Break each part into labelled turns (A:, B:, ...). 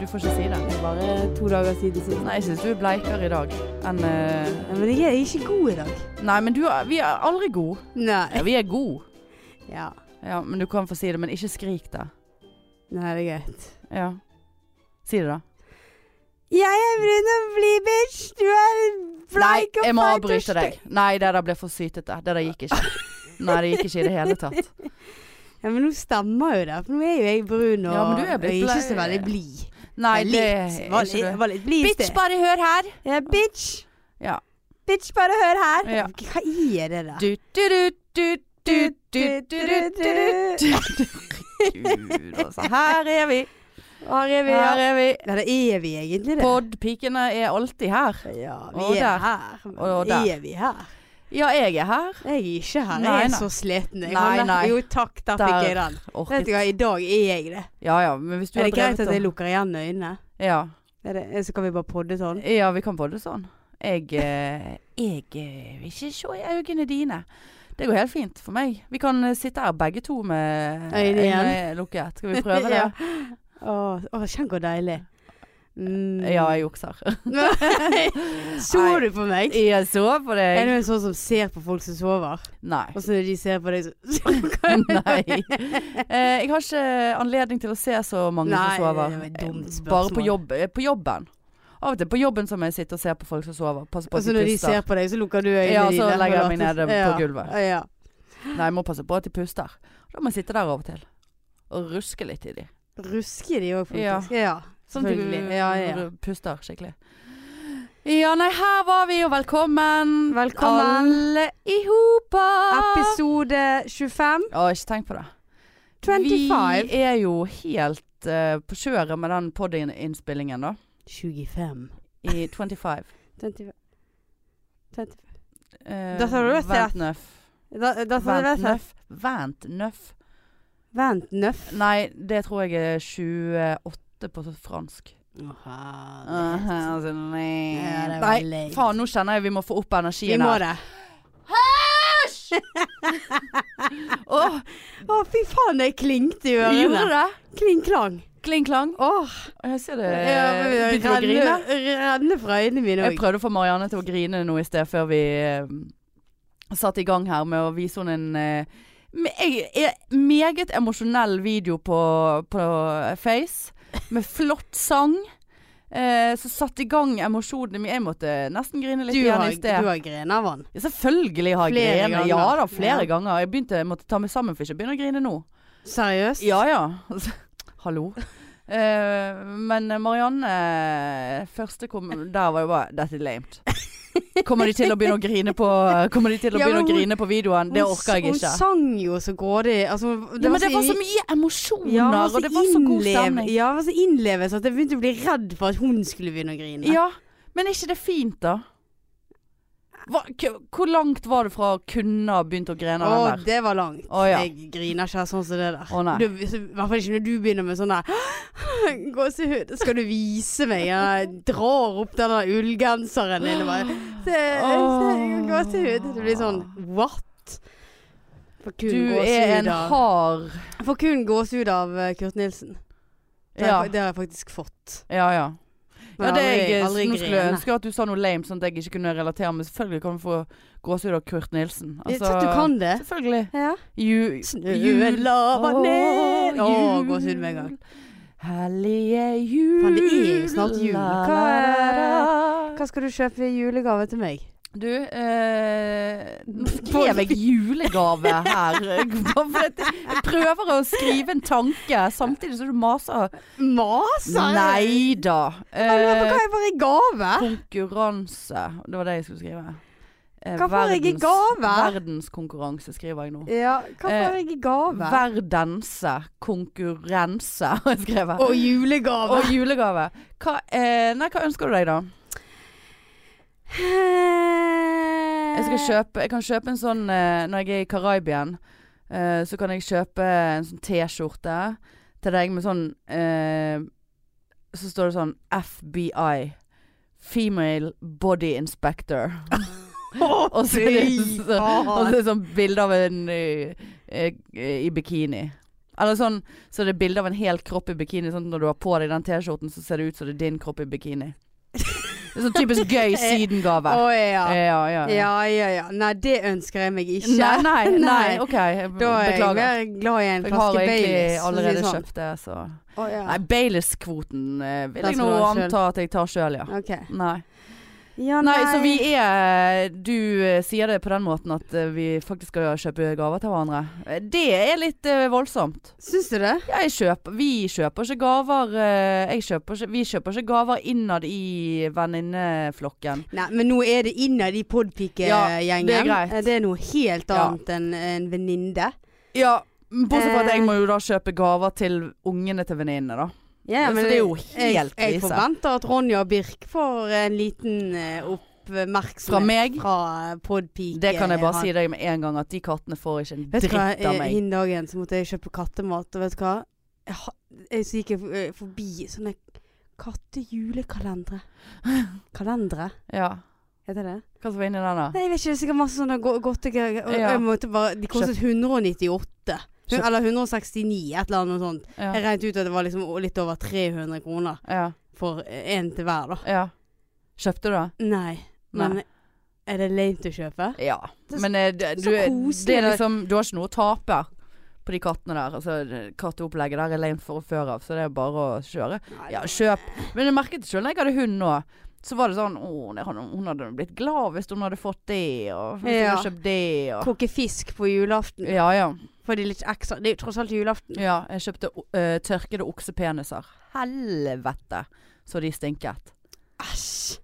A: du får ikke si det.
B: Det er bare to dager siden sist.
A: Nei, jeg syns du er bleikere i dag enn eh,
B: Nei, Men jeg er ikke god i dag.
A: Nei, men du er- Vi er aldri gode.
B: Nei.
A: Ja, vi er gode.
B: Ja.
A: Ja, men du kan få si det, men ikke skrik det.
B: Nei, det er greit.
A: Ja. Si det, da.
B: Jeg er brun og blid, bitch. Du er bleik og
A: Nei, jeg må
B: feit og
A: avbryte deg. Nei, det der ble for sytete. Det der gikk ikke. Nei, det gikk ikke i det hele tatt.
B: stygg. Ja, men nå stemmer jo det. For nå er jo jeg brun og,
A: Ja, men du er blitt
B: og ikke så
A: blei-
B: veldig blid.
A: Nei, det
B: Litt.
A: er
B: Var
A: ikke
B: litt,
A: det.
B: var litt blid i
A: Bitch,
B: sted.
A: bare hør her!
B: Ja, bitch.
A: Ja.
B: Bitch, bare hør her.
A: Ja.
B: Hva er det da?
A: Du, du, du, du, du, du, du, du, du, du. Herregud, altså. Her er vi.
B: Her er vi, ja.
A: Her er vi.
B: Nei, det er vi egentlig det.
A: Podpikene er alltid her.
B: ja, vi
A: og
B: er
A: der.
B: her. Men
A: Og der.
B: er vi her?
A: Ja, jeg er her.
B: Jeg er ikke her.
A: Nei,
B: Jeg er
A: nei.
B: så sliten. Jeg
A: Nei,
B: har lett-
A: nei.
B: Jo takk, der fikk
A: Der.
B: jeg den. Vet
A: Orket.
B: du hva, i dag er jeg det.
A: Ja ja, men hvis du
B: Er
A: har
B: det greit
A: drevet
B: at jeg
A: og-
B: lukker igjen øynene?
A: Ja.
B: Er det, så kan vi bare podde sånn.
A: Ja, vi kan få det sånn. Jeg, eh, jeg eh, vil ikke se i øynene dine. Det går helt fint for meg. Vi kan eh, sitte her begge to med eh,
B: Øynene igjen.
A: lukket. Skal vi prøve det?
B: Ja. Åh, åh, kjenn hvor deilig. Mm.
A: Ja, jeg jukser.
B: Så du på meg?
A: Jeg så på
B: Er
A: deg.
B: du en sånn som ser på folk som sover?
A: Nei.
B: Og så når de ser på deg, så
A: Nei. Eh, Jeg har ikke anledning til å se så mange
B: Nei,
A: som sover.
B: det var et dumt spørsmål.
A: Bare på, jobb, eh, på jobben. Av og til på jobben som jeg sitter og ser på folk som sover. Passer på
B: Og
A: at
B: så
A: de
B: Altså, når de
A: puster.
B: ser på deg, så lukker du øynene
A: Ja, så
B: dine. og
A: legger jeg meg
B: later-
A: nede på
B: Ja,
A: gulvet.
B: Ja.
A: Nei, jeg må passe på at de puster. Da må jeg sitte der av og til. Og ruske litt i de.
B: Rusker de òg,
A: Ja.
B: faktisk. Ja.
A: Sånn at du
B: Selvfølgelig. Ja, ja, ja.
A: du puster skikkelig. Ja, nei, her var vi, og velkommen.
B: Velkommen.
A: Alle i hopa.
B: Episode 25.
A: Å, ikke tenk på det.
B: 25.
A: Vi er jo helt eh, på kjøret med den podinnspillingen, da.
B: 25.
A: I 25.
B: 25. 25.
A: Eh,
B: Da sa du det,
A: Vent nøff.
B: Da, da sa
A: Vent
B: jeg det.
A: nøff. Vent nøff.
B: Vent, nøff.
A: Nei, det tror jeg er 28 på fransk. Eh, altså, nei.
B: Ja, det var
A: Nei,
B: leit.
A: faen, nå kjenner jeg vi må få opp
B: Vi
A: energien
B: må
A: her.
B: det.
A: Åh,
B: Å, fy faen, det klingte i
A: gjorde
B: ørene.
A: det?
B: Kling klang.
A: Kling klang.
B: Åh,
A: Og Jeg
B: Eh,
A: ser det
B: jeg
A: Eh, begynte du å grine.
B: renne fra øynene mine
A: Jeg
B: òg.
A: prøvde å få Marianne til å grine nå i sted, før vi eh, satte i gang her med å vise henne en eh, me- jeg, jeg, meget emosjonell video på, på Face, med flott sang. Eh, som satte i gang emosjonene mine. Jeg måtte nesten grine litt
B: Du
A: igjen
B: har,
A: i sted.
B: du har grene av han.
A: Ja, Selvfølgelig har jeg
B: Flere
A: grene. Ja
B: ganger.
A: da, flere
B: Ja.
A: ganger. Jeg begynte, jeg måtte ta meg sammen for ikke å begynne å grine nå.
B: Seriøst?
A: Ja ja. Altså, Hallo. Eh, men Marianne eh, Første kom Der var jo bare Dette er lamet. Kommer de til å begynne å grine på eh, Kommer de til å
B: Ja,
A: begynne
B: men
A: å
B: hun-
A: grine på videoen? Det
B: Hun
A: orker jeg
B: s-
A: ikke.
B: Hun sang jo så grådig. Altså, det,
A: Ja, men det var så
B: i-
A: mye emosjoner,
B: Ja, hun
A: og det var så god
B: innlev-
A: stemning.
B: Ja, det var så innlevet at jeg begynte å bli redd for at hun skulle begynne å grine.
A: Ja, men er ikke det fint, da? Hva, k hvor langt var det fra å kunne ha begynt å grene av
B: Å,
A: den der?
B: det var langt.
A: Å, ja.
B: Jeg griner ikke sånn som det der.
A: Å, nei.
B: Du, hvis- I hvert fall ikke når du begynner med sånn der gåsehud. Skal du vise meg? Jeg drar opp den der ullgenseren din og bare Se, se
A: Åh.
B: gåsehud. Det blir sånn what? Får kun
A: Du er
B: gåsehud
A: en
B: av
A: hard
B: Får kun gåsehud av eh, Kurt Nilsen. Det,
A: Ja,
B: har, jeg fa- det har jeg faktisk fått.
A: ja. ja.
B: Men
A: Ja, det
B: aldri-
A: jeg
B: aldri
A: nå skulle jeg
B: grene.
A: ønske at du sa noe lame, sånn at jeg ikke kunne relatere. Men selvfølgelig kan du få gåsehud av Kurt Nilsen.
B: Jeg tror at du kan det.
A: Selvfølgelig.
B: Ja.
A: Ju,
B: Snøen laver ned Å, gåsehud med en gang.
A: Hellige jul.
B: Faen, det er jo snart jul.
A: Hva er
B: Hva skal du kjøpe i julegave til meg?
A: Du, eh, nå skrev jeg julegave her. Bare fordi Jeg prøver å skrive en tanke, samtidig som du maser.
B: Maser?
A: Nei da. Eh,
B: Jeg lurer på hva jeg får i gave?
A: Konkurranse. Det var det jeg skulle skrive. Eh,
B: Hva får jeg i
A: verdens-
B: gave?
A: Verdenskonkurranse skriver jeg nå.
B: Ja, hva
A: eh,
B: får jeg i gave?
A: Verdense konkurranse har jeg skrevet.
B: Og julegave.
A: Og julegave. Hva, eh, nei, hva ønsker du deg, da?
B: eh,
A: Jeg, skal kjøpe, jeg kan kjøpe en sånn eh, Når jeg er i Karibien, eh, så kan jeg kjøpe en sånn T-skjorte til deg med sånn eh, Så står det sånn FBI. Female Body Inspector. Og så er det
B: Fy
A: så-
B: faen.
A: Og så er det sånn bilde av en eh, eh, i bikini. Eller sånn så det er bilde av en hel kropp i bikini. Sånn at når du har på deg den T-skjorten, så ser det ut som det er din kropp i bikini. Det er sånn typisk gøy
B: Å
A: sydengave. Ja,
B: ja.
A: ja, ja.
B: Ja, ja, ja. Nei, det ønsker jeg meg ikke.
A: Nei, nei, nei. OK, jeg
B: Da er jeg
A: beklager.
B: mer glad i en
A: Jeg har
B: flaske
A: egentlig
B: Baileys. for å si det
A: allerede
B: sånn.
A: kjøpt det, så
B: Å, ja.
A: Nei, Baileys-kvoten eh, vil
B: Den
A: jeg nå
B: skal du ha selv.
A: anta at jeg tar sjøl, ja.
B: Ok.
A: Nei.
B: Ja,
A: Nei, så vi er Du eh, sier det på den måten at eh, vi faktisk skal kjøpe gaver til hverandre. Eh, Det er litt eh, voldsomt.
B: Syns du det?
A: Ja, jeg kjøper, vi kjøper ikke gaver eh, jeg kjøper ikke, Vi kjøper ikke gaver innad i venninneflokken.
B: Nei, men nå er det innad i
A: Ja,
B: podpike-gjengen.
A: det er greit.
B: Eh, det er noe helt
A: Ja.
B: annet enn en venninne.
A: Ja, bortsett fra at
B: Eh.
A: jeg må jo da kjøpe gaver til ungene til venninnene, da.
B: Ja, ja,
A: Så
B: men
A: det er jo
B: jeg,
A: helt
B: jeg
A: krise.
B: forventer at Ronja og Birk får en liten eh,
A: Fra
B: oppmerksomhet
A: meg,
B: fra eh, podpike.
A: det kan jeg bare si deg med en gang, at de kattene får ikke en
B: Vet du hva,
A: dritt av
B: eh,
A: meg.
B: hin dagen så måtte jeg kjøpe kattemat, og vet du hva? Jeg, ha- jeg så gikk jeg for- eh, forbi sånne kattejulekalendere. Kalendere,
A: Ja.
B: heter det?
A: Hva som var inni den, da?
B: Nei, jeg vet ikke, det er sikkert masse sånne go- godtegreier. Og
A: Ja.
B: jeg måtte bare, de kostet 198. Hun,
A: Kjøp.
B: eller 169, et eller annet sånt. Jeg
A: Ja.
B: regnet ut at det var liksom o- litt over 300 kroner
A: ja,
B: for én til hver, da.
A: ja. Kjøpte du det?
B: Nei,
A: Nei.
B: men er det leit å kjøpe?
A: Ja.
B: Det er så-
A: Men eh, det,
B: det er
A: du,
B: så
A: er-
B: koselig,
A: det er
B: det.
A: liksom, du har ikke noe å tape på de kattene der. Altså, det- katteopplegget der er lame for før av, så det er bare å kjøre. Ja, kjøp. Men jeg merket det selv når jeg hadde hund nå. Så var det sånn Å, det- hun hun hadde blitt glad hvis hun hadde fått det, og hvis hun
B: Ja.
A: hadde kjøpt det, og
B: Koke fisk på julaften.
A: Ja ja.
B: For det er litt ekstra. Det er jo tross alt julaften.
A: ja jeg kjøpte eh, tørkede oksepeniser. Helvete så de stinket.
B: Æsj.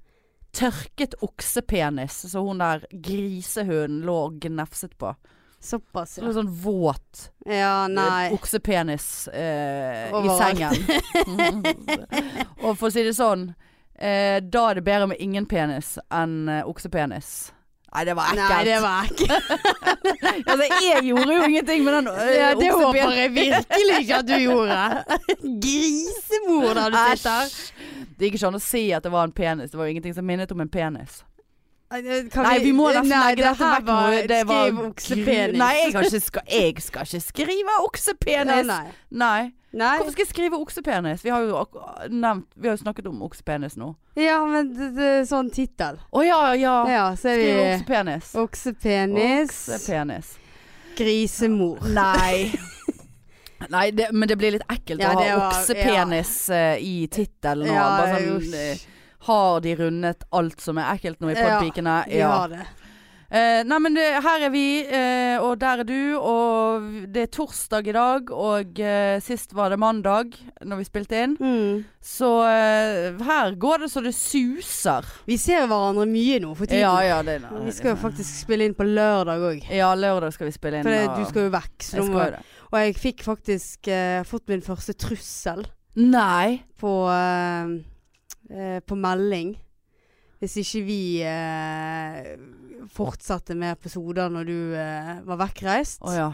A: Tørket oksepenis, så hun der grisehunden lå og gnefset på.
B: Såpass,
A: Så
B: ja.
A: litt sånn våt
B: Ja, nei.
A: oksepenis eh, i
B: Overalt.
A: sengen. og for å si det sånn, eh, da er det bedre med ingen penis enn eh, oksepenis. Nei, det var ekkelt.
B: Nei, det var ekkelt.
A: altså, jeg gjorde jo ingenting med den eh,
B: Ja, det håper
A: oksepenis.
B: jeg virkelig ikke at du gjorde. Grisemor da du sitter.
A: Det gikk ikke an å si at det var en penis. Det var jo ingenting som minnet om en penis.
B: Kan
A: Nei, vi må nesten
B: Nei,
A: legge dette
B: her
A: vekk
B: var-
A: nå. Det var
B: Skriv
A: gru-
B: oksepenis.
A: Nei, jeg, har ikke ska, jeg skal ikke skrive
B: Ja,
A: oksepenis.
B: nei.
A: nei.
B: nei.
A: Hvorfor skal jeg skrive oksepenis? Vi har jo ak- nevnt Vi har jo snakket om oksepenis nå.
B: Ja, men det, det er sånn tittel.
A: Å ja, ja.
B: Ja, så er
A: Skriv
B: vi
A: oksepenis.
B: Oksepenis.
A: Oksepenis.
B: Grisemor.
A: Nei. Nei, det, men det blir litt ekkelt
B: Ja,
A: å
B: det
A: ha
B: var-
A: oksepenis eh, i tittelen. og
B: Ja,
A: bare sånn,
B: usch.
A: eh, har de rundet alt som er ekkelt nå i
B: Ja,
A: podpikene?
B: Vi har det.
A: Eh, nei, men det, her er vi, eh, og der er du, og det er torsdag i dag, og eh, sist var det mandag når vi spilte inn.
B: Mm.
A: Så eh, her går det så det suser.
B: Vi ser hverandre mye nå for tiden.
A: ja, det er
B: Vi skal jo faktisk spille inn på lørdag òg.
A: Ja, lørdag skal vi spille inn.
B: For det,
A: og-
B: du skal jo vekk. Så
A: Jeg
B: nå
A: skal
B: må,
A: jo det.
B: og jeg fikk faktisk eh, fått min første trussel
A: Nei.
B: på, eh, eh, på melding. Hvis ikke vi eh, fortsatte med episoder når du eh, var vekkreist,
A: Å ja.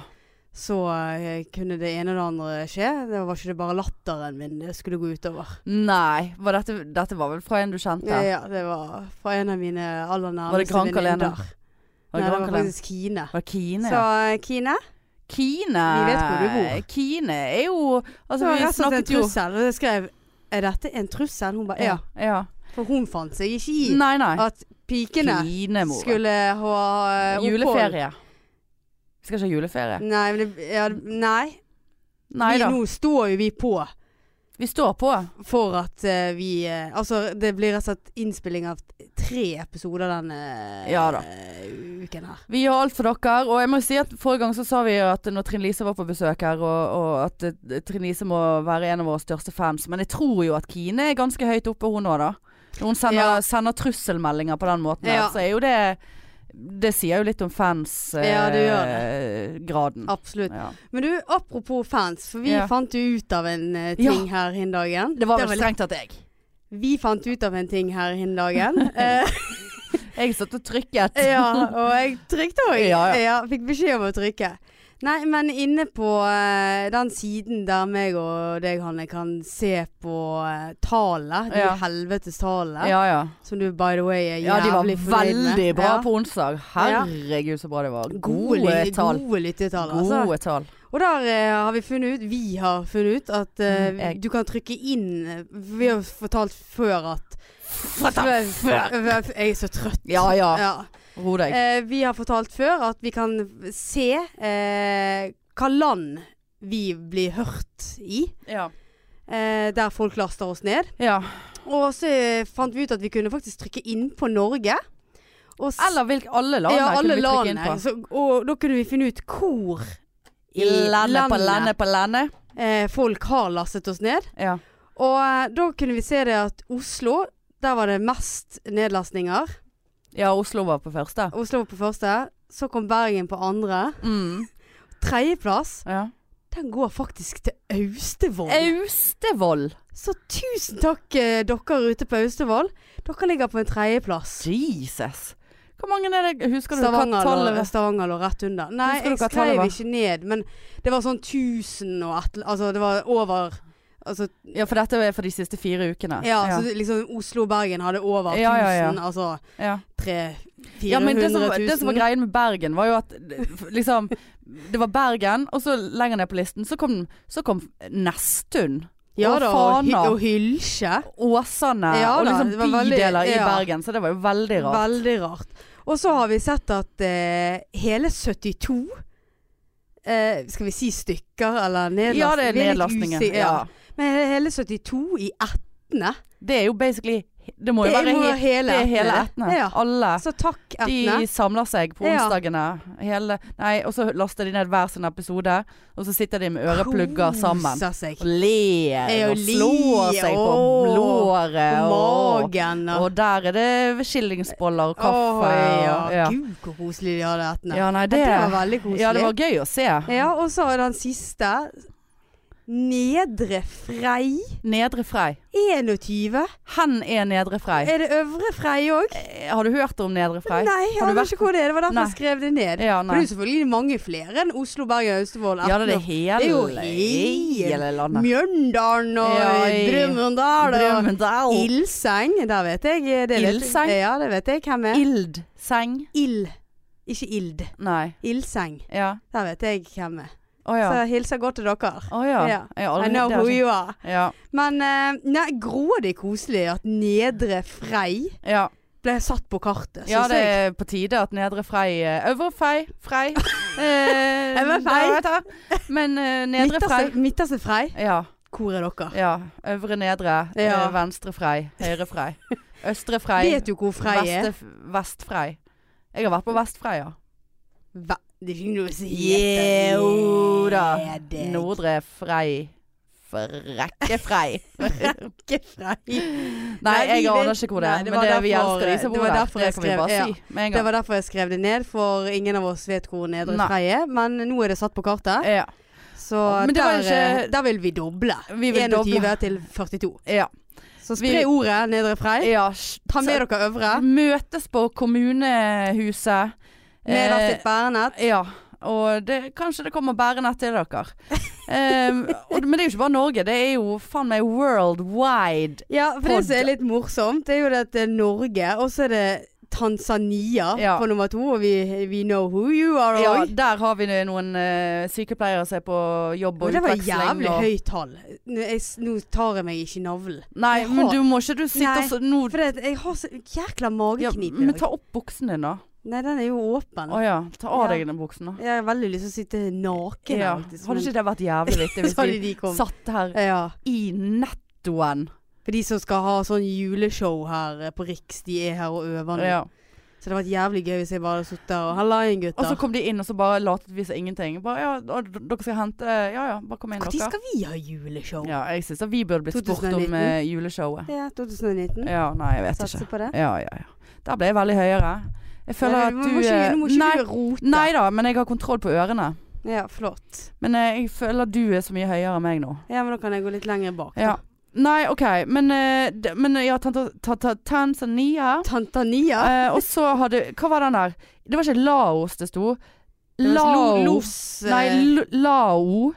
B: så eh, kunne det ene og det andre skje. Det var ikke det bare latteren min det skulle gå utover.
A: Nei. Var dette, dette var vel fra en du kjente?
B: Ja, ja, det var fra en av mine aller
A: Var det
B: nærmeste
A: Gran Calena?
B: venninner.
A: Var
B: Nei,
A: det
B: det
A: Gran
B: var
A: Calena?
B: faktisk Kine.
A: Var det Kine?
B: Så
A: ja.
B: eh, Kine,
A: Kine
B: Vi vet hvor du bor.
A: Kine er jo
B: det
A: Altså,
B: var
A: vi
B: rett og slett en
A: snakket jo
B: trussel. Og jeg skrev Er dette en trussel? Hun bare ja.
A: ja.
B: For hun fant seg ikke i
A: Nei, nei.
B: at pikene
A: Pinemor.
B: skulle ha eh, opphold.
A: Juleferie. Vi skal ikke ha juleferie.
B: Nei, men det, ja, nei.
A: Nei
B: vi,
A: da.
B: nå står jo vi på
A: Vi står på.
B: for at eh, vi eh, Altså, det blir rett og slett innspilling av tre episoder denne eh,
A: Ja da.
B: uken her.
A: Vi gjør alt for dere. Og jeg må si at forrige gang så sa vi jo at når Trine Lise var på besøk her, og, og at eh, Trine Lise må være en av våre største fans. Men jeg tror jo at Kine er ganske høyt oppe, hun òg, da. Når hun sender,
B: Ja.
A: sender trusselmeldinger på den måten,
B: Ja.
A: her, så er jo det Det sier jo litt om fansgraden.
B: Ja, det gjør
A: Graden.
B: Absolutt.
A: Ja.
B: Men du, apropos fans, for vi
A: Ja.
B: fant jo ut av en eh,
A: Ja.
B: ting her hin dagen.
A: Det var vel
B: litt-
A: strengt tatt jeg.
B: Vi fant ut av en ting her hin dagen. Eh,
A: Jeg satt og trykket.
B: ja, og jeg trykte òg.
A: Ja, ja.
B: fikk beskjed om å trykke. Nei, men inne på eh, den siden der meg og deg, Hanne, kan se på uh, tallene. De
A: Ja.
B: helvetes tallene.
A: ja, ja.
B: Som du, by the way, er
A: Ja, de var
B: jævlig fornøyd med.
A: veldig bra
B: Ja.
A: på onsdag. Herregud, så bra det var. Gode
B: lyt-
A: tall.
B: Gode lyttetall, altså.
A: Gode tall.
B: Og der eh, har vi funnet ut, vi har funnet ut, at eh,
A: Mm, jeg-
B: du kan trykke inn eh, Vi har fortalt før at Jeg er så trøtt.
A: Ja ja,
B: Ja.
A: ro deg.
B: Eh, vi har fortalt før at vi kan se eh, hva land vi blir hørt i.
A: Ja.
B: Eh, der folk laster oss ned.
A: ja.
B: Og så eh, fant vi ut at vi kunne faktisk trykke inn på Norge. Og s-
A: Eller hvilke alle landene
B: ja, alle
A: kunne vi trykke inn
B: landene.
A: på.
B: Så, og da kunne vi finne ut hvor i
A: landet på
B: landet.
A: landet på landet.
B: eh, folk har lastet oss ned.
A: Ja.
B: Og eh, da kunne vi se det at Oslo, der var det mest nedlastninger.
A: ja, Oslo var på første.
B: Oslo var på første, så kom Bergen på andre.
A: Mm.
B: Tredjeplass,
A: Ja.
B: den går faktisk til Austevoll.
A: Austevoll.
B: Så tusen takk eh, dere ute på Austevoll. Dere ligger på en tredjeplass.
A: Jesus. Hvor mange er det Husker du hva
B: Stavanger
A: tallet
B: lå,
A: var?
B: Stavanger lå rett under. Nei,
A: Husker du
B: jeg
A: hva tallet
B: skrev
A: var?
B: ikke ned, men det var sånn 1000 og et Altså, det var over Altså,
A: Ja, for dette er for de siste fire ukene.
B: ja, så liksom Oslo og Bergen hadde over 1000.
A: Ja, ja, ja.
B: Altså
A: ja.
B: 300
A: Ja, men det som,
B: 000.
A: det som var greien med Bergen var jo at liksom Det var Bergen, og så lenger ned på listen så kom, så kom Nesttun.
B: ja,
A: og
B: da, og, hy
A: Fana.
B: og Hylsje.
A: Åsane
B: Ja
A: og
B: da,
A: liksom
B: det var veldig-
A: bydeler i
B: ja.
A: Bergen, så det var jo veldig rart.
B: Veldig rart. Og så har vi sett at eh, hele 72 eh, Skal vi si stykker eller nedlastninger?
A: ja, det er nedlastningen.
B: Ja.
A: Ja.
B: Men hele 72 i ettene.
A: Det er jo basically Det må jo
B: Det
A: være
B: må
A: he-
B: hele
A: det er hele
B: ettene.
A: Etne.
B: Ja.
A: Alle.
B: Så takk,
A: De
B: ettene.
A: samler seg på
B: Ja.
A: onsdagene. Hele, nei, og så laster de ned hver sin episode, og så sitter de med øreplugger sammen.
B: Koser seg.
A: Og ler
B: Ja,
A: og slår
B: ler,
A: seg på
B: åh,
A: låret.
B: Og
A: Og,
B: magen og
A: og der er det skillingsboller og kaffe.
B: Åh, ja.
A: og- ja.
B: Gud, hvor koselig de hadde ettene.
A: ja, nei,
B: det,
A: det,
B: var veldig koselig.
A: ja, det var gøy å se.
B: Ja, og så den siste. Nedre Frei
A: Nedre Frei.
B: 21.
A: Hen er Nedre Frei.
B: Er det Øvre Frei òg?
A: Eh, Har du hørt om Nedre Frei?
B: Nei, jeg
A: Har du
B: aner
A: vært-
B: ikke hvor det er. Det var derfor
A: Nei.
B: jeg skrev det ned.
A: Ja,
B: For det er
A: nei.
B: jo selvfølgelig mange flere enn Oslo, Bergen, Austevoll,
A: Ja, det er
B: Etne,
A: hele,
B: Det er jo
A: hele landet.
B: Mjøndalen og
A: Ja,
B: ja,
A: i-
B: Brumunddal og
A: Drømmedal.
B: Ildseng. Der vet jeg. Det vet-
A: Ildseng?
B: Ja, det vet jeg hvem er.
A: Ild. Seng.
B: Ild. Ikke ild.
A: Nei.
B: Ildseng.
A: Ja.
B: Der vet jeg hvem er.
A: Å ja.
B: Så hilser godt til dere.
A: Å ja.
B: Ja.
A: Jeg har
B: I
A: aldri,
B: know
A: det har
B: who
A: jeg ikke-
B: you are.
A: ja.
B: Men eh, nei, grådig koselig at Nedre Frei
A: Ja.
B: ble satt på kartet.
A: ja,
B: synes
A: det
B: jeg.
A: er på tide at Nedre Frei eh, Øvre Frei Frei. eh,
B: Øvre Frei.
A: der vet jeg. Men eh, Nedre
B: Midterste,
A: Frei
B: midterste Frei.
A: Ja.
B: Hvor er dere?
A: ja. Øvre Nedre.
B: Ja.
A: eh, Venstre Frei. Høyre Frei. Østre Frei.
B: Vet du hvor Frei eh. er?
A: Veste, Vest Frei. Jeg har vært på Vest Frei, ja.
B: Ve det er ikke noe som
A: Jo da.
B: Nedre
A: Nordre Frei. Frekke Frei.
B: Ikke Frei.
A: Nei,
B: Nei, vi
A: jeg aner
B: vet-
A: ikke hvor det
B: Nei,
A: er.
B: det
A: Men
B: var
A: det, vi
B: derfor-
A: elsker de som
B: det
A: bor
B: var
A: der.
B: derfor
A: Det
B: jeg
A: kan vi
B: skrev-
A: bare
B: ja.
A: si med en
B: Det
A: gang.
B: var derfor jeg skrev det ned, for ingen av oss vet hvor Nedre
A: Nei.
B: Frei er. Men nå er det satt på kartet,
A: Ja.
B: så
A: Men det var
B: der,
A: jo ikke-
B: eh, der vil vi doble.
A: Vi vil
B: 21
A: doble.
B: til 42.
A: Ja.
B: Så
A: Vi- Mm.
B: spre ordet Nedre Frei.
A: ja. sj-
B: Ta med dere øvre.
A: Møtes på kommunehuset.
B: Med hvert
A: Eh,
B: sitt bærenett.
A: Ja, og det, kanskje det kommer bærenett til dere. Ehm, og, men det er jo ikke bare Norge, det er jo faen meg world wide.
B: Ja, for det
A: Podd.
B: som er litt morsomt, det er jo det at det er Norge, og så er det Tanzania
A: Ja.
B: på nummer to, og vi, we know who you are
A: Ja,
B: òg.
A: der har vi noen eh, sykepleiere som er på jobb og
B: det var
A: utveksling.
B: jævlig
A: og,
B: høyt tall. Nå, jeg, s- nå tar jeg meg ikke i navlen.
A: Nei,
B: Jeg
A: men
B: har-
A: du må ikke du sitte
B: Nei,
A: og så nå
B: For det, at jeg har så jækla
A: ja,
B: mageknip i
A: Men
B: dag.
A: ta opp buksen din, da.
B: Nei, den er jo
A: Å
B: åpen.
A: ja. Ta av
B: Ja.
A: deg den buksen, da.
B: Jeg har veldig lyst til å sitte naken.
A: Ja.
B: her, faktisk,
A: Hadde
B: men-
A: ikke det vært jævlig vittig hvis
B: Så
A: vi
B: hadde de kommet.
A: satt her
B: Ja.
A: i nettoen?
B: For de som skal ha sånn juleshow her eh, på Riks, de er her og øver nå.
A: Ja.
B: Så det hadde vært jævlig gøy hvis jeg bare hadde sittet der og Halla inn,
A: Og så
B: gutter.
A: kom de inn, og så bare latet vi som ingenting. Bare, ja, d- d- dere skal hente Ja ja, bare kom inn,
B: Når
A: dere.
B: skal vi ha juleshow?
A: Ja, jeg syns at vi burde blitt spurt om
B: 2019.
A: eh, juleshowet.
B: Ja, 2019.
A: Ja, nei, jeg vet
B: Satser
A: ikke.
B: på altså, det.
A: Ja, ja, ja. Der ble jeg veldig høyere. Jeg føler
B: Nei,
A: at
B: men
A: du
B: må ikke,
A: eh,
B: Nå må ikke
A: nei,
B: du rote.
A: nei da, men jeg har kontroll på ørene.
B: Ja, flott.
A: Men eh, jeg føler du er så mye høyere enn meg nå.
B: Ja, men da kan jeg gå litt lenger bak. da.
A: Ja. Nei, OK. Men, eh, d- men ja, Tanta- Tanta- Tanzania
B: Tanzania.
A: eh, Og så hadde Hva var den der? Det var ikke Laos det sto.
B: Det var sånn
A: Laos.
B: lo- Los.
A: Nei,
B: eh,
A: L- Lao.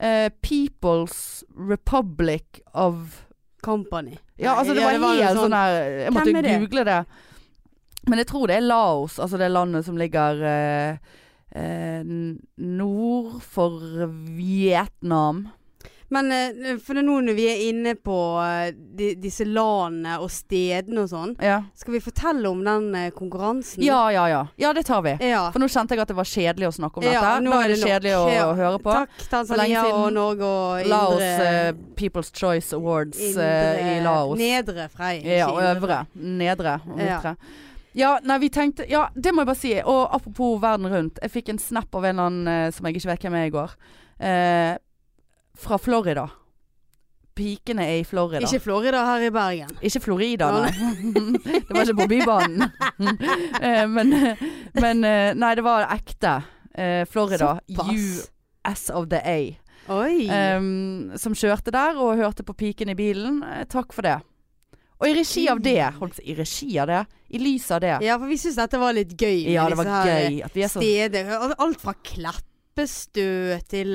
A: eh, People's Republic of
B: Company.
A: Ja, altså det var
B: jo
A: helt sånn her Jeg måtte
B: Hvem er det?
A: google det. Men jeg tror det er Laos, altså det landet som ligger eh, eh, n- nord for Vietnam.
B: Men eh, for det er nå når vi er inne på eh, de, disse landene og stedene og sånn,
A: Ja.
B: skal vi fortelle om den eh, konkurransen?
A: ja, ja, ja. Ja, det tar vi.
B: ja.
A: For nå kjente jeg at det var kjedelig å snakke om
B: Ja,
A: dette.
B: nå
A: Nå
B: er
A: er det
B: det nok.
A: kjedelig å,
B: Ja.
A: å høre på.
B: Takk, Tanzania
A: siden.
B: og Norge og indre
A: Laos eh, People's Choice Awards eh, i Laos.
B: Nedre Frei.
A: Ja,
B: ikke
A: og
B: indre.
A: øvre. Nedre og
B: Ja.
A: midtre. Ja, nei, vi tenkte Ja, det må jeg bare si. Og apropos verden rundt. Jeg fikk en snap av en eller annen eh, som jeg ikke vet hvem er i går. Eh, fra Florida. Pikene er i Florida.
B: Ikke Florida her i Bergen.
A: Ikke Florida,
B: Ja,
A: nei. det var ikke på Bybanen. Eh, men, men eh, Nei, det var ekte. eh, Florida.
B: Såpass.
A: US of the A.
B: Oi.
A: Ehm, som kjørte der og hørte på piken i bilen. Eh, takk for det. Og i regi av det, holdt jeg på å si, i regi av det, i lys av det
B: ja, for vi syns dette var litt gøy. med
A: Ja, det var
B: disse her, eh,
A: gøy at vi er så
B: Steder. Al- Alt fra Kleppestø til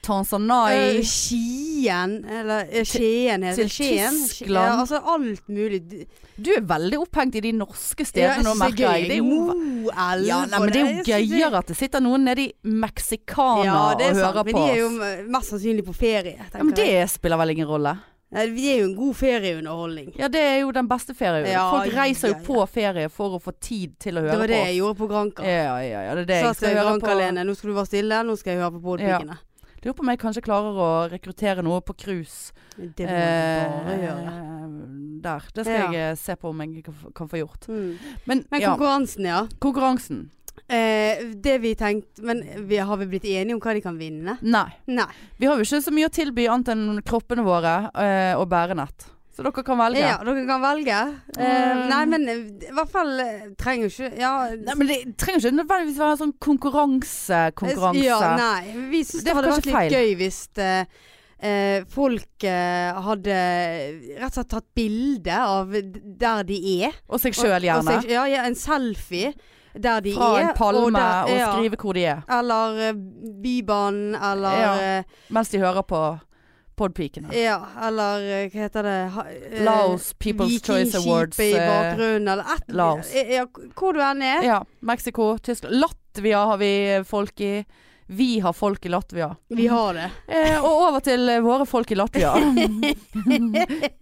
A: Tanzanai.
B: eh, Skien Eller eh, Skien heter
A: til
B: det. Skien.
A: Tyskland.
B: Ja, altså alt mulig. D-
A: Du er veldig opphengt i de norske
B: Ja,
A: stedene nå, merker jeg. Det er jo,
B: Moelv
A: ja, nei,
B: og
A: men det er jo
B: jeg synes det-
A: gøyere at det sitter noen nede i Mexicana
B: Ja, det er
A: og
B: sant,
A: hører
B: men
A: på
B: de er jo
A: oss.
B: m- mest sannsynlig på ferie.
A: Ja, men
B: tenker
A: det
B: jeg.
A: spiller vel ingen rolle.
B: Nei, Vi er jo en god ferieunderholdning.
A: Ja, det er jo den beste ferien.
B: Ja,
A: Folk reiser jo
B: ja, ja.
A: på ferie for å få tid til å høre
B: Det var det
A: på oss.
B: jeg gjorde på Granka.
A: Ja, ja, ja, det er det
B: Sa
A: jeg skal
B: til
A: høre
B: Granka
A: på.
B: Lene, nå skal du være stille, nå skal jeg høre på podpikene.
A: Lurer på om jeg kanskje klarer å rekruttere noe på cruise.
B: Det må du bare gjøre.
A: Eh, Der. Det skal
B: Ja.
A: jeg eh, se på om jeg kan, kan få gjort.
B: Mm.
A: Men,
B: Men
A: ja,
B: konkurransen, ja.
A: konkurransen.
B: Eh, det vi tenkte Men vi, har vi blitt enige om hva de kan vinne?
A: Nei.
B: Nei.
A: Vi har jo ikke så mye å tilby annet enn kroppene våre eh, og bærenett. Så dere kan velge.
B: Ja, dere kan velge. Eh,
A: Mm.
B: nei, men eh, i hvert fall eh, trenger jo ikke Ja. Eh,
A: Nei, men Det trenger ikke nødvendigvis være sånn konkurransekonkurranse.
B: Ja, nei. Vi syns
A: Det
B: det
A: var
B: hadde vært
A: kanskje
B: litt
A: feil.
B: gøy hvis eh, eh, folk eh, hadde rett og slett tatt bilde av d- der de er.
A: og seg sjøl,
B: Og- og
A: gjerne.
B: seg- ja, ja, en selfie der de
A: Fra
B: er.
A: en palme og,
B: der- ja.
A: skrive hvor de er.
B: Eller eh, Bybanen, eller
A: Ja.
B: eh,
A: Mens de hører på Podpikene.
B: Ja, eller eh, hva heter det ha, eh,
A: Laos People's Choice
B: Vikingskipet
A: Awards.
B: i
A: eh,
B: bakgrunnen, eller et
A: Laos.
B: eh, Ja, k- hvor du enn er.
A: Ja, Mexico, Tyskland. Latvia har vi folk i. Vi har folk i Latvia.
B: Vi har det.
A: Eh, og over til eh, våre folk i Latvia.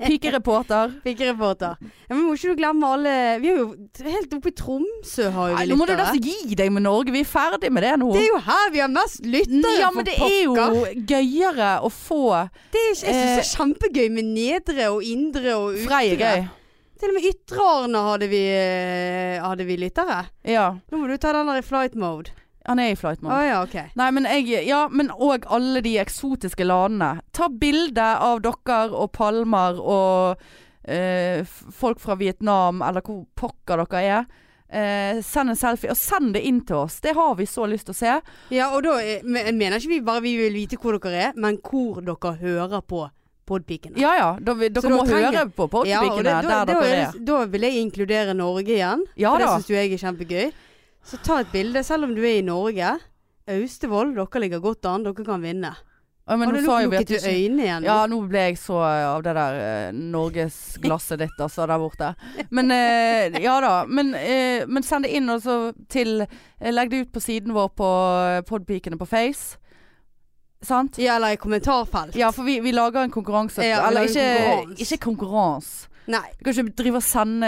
A: Pikereporter.
B: Pikereporter. Ja, men må ikke du glemme alle Vi er jo t- helt oppe i Tromsø, har jo
A: Nei,
B: vi
A: Nå må du
B: lyttere.
A: nesten gi deg med Norge. Vi er ferdig med det nå.
B: Det er jo her vi har mest lyttere,
A: ja,
B: for
A: men det er jo
B: pokker.
A: gøyere å få
B: Det er ikke, jeg syns det er kjempegøy med nedre og indre og ytre.
A: Frei er gøy.
B: Til og med ytre Arne hadde vi, eh, hadde vi lyttere.
A: Ja.
B: Nå må du ta den der i flight mode.
A: Han er i flight
B: Å
A: mode.
B: ja, OK.
A: Nei, men jeg Ja, men òg alle de eksotiske landene. Ta bilde av dere og palmer og eh, f- folk fra Vietnam, eller hvor pokker dere er. Eh, send en selfie, og send det inn til oss. Det har vi så lyst til å se.
B: Ja, og da eh, men- jeg mener ikke vi bare vi vil vite hvor dere er, men hvor dere hører på podpikene.
A: Ja ja, da, vi, dere
B: da
A: må
B: trenger-
A: høre på podpikene der
B: da,
A: dere
B: er
A: er.
B: det- da vil jeg inkludere Norge igjen.
A: Ja
B: for det
A: da.
B: syns jo jeg er kjempegøy. Så ta et bilde, selv om du er i Norge. Austevoll, dere ligger godt an. Dere kan vinne.
A: Ja, men
B: Har
A: nå
B: du
A: sa
B: luk-
A: jo vi at
B: lukket
A: du
B: du
A: ikke
B: øynene igjen? nå?
A: Ja, nå ble jeg så av det der eh, norgesglasset ditt, altså, der borte. Men eh, ja da. Men, eh, men send det inn og så til eh, Legg det ut på siden vår på eh, Podpikene på Face. Sant?
B: Ja, eller i kommentarfelt.
A: Ja, for vi, vi lager en konkurranse.
B: Ja, vi
A: Eller
B: lager
A: ikke
B: konkurranse.
A: konkurranse. Ikke konkurranse.
B: Nei.
A: Du kan ikke drive og sende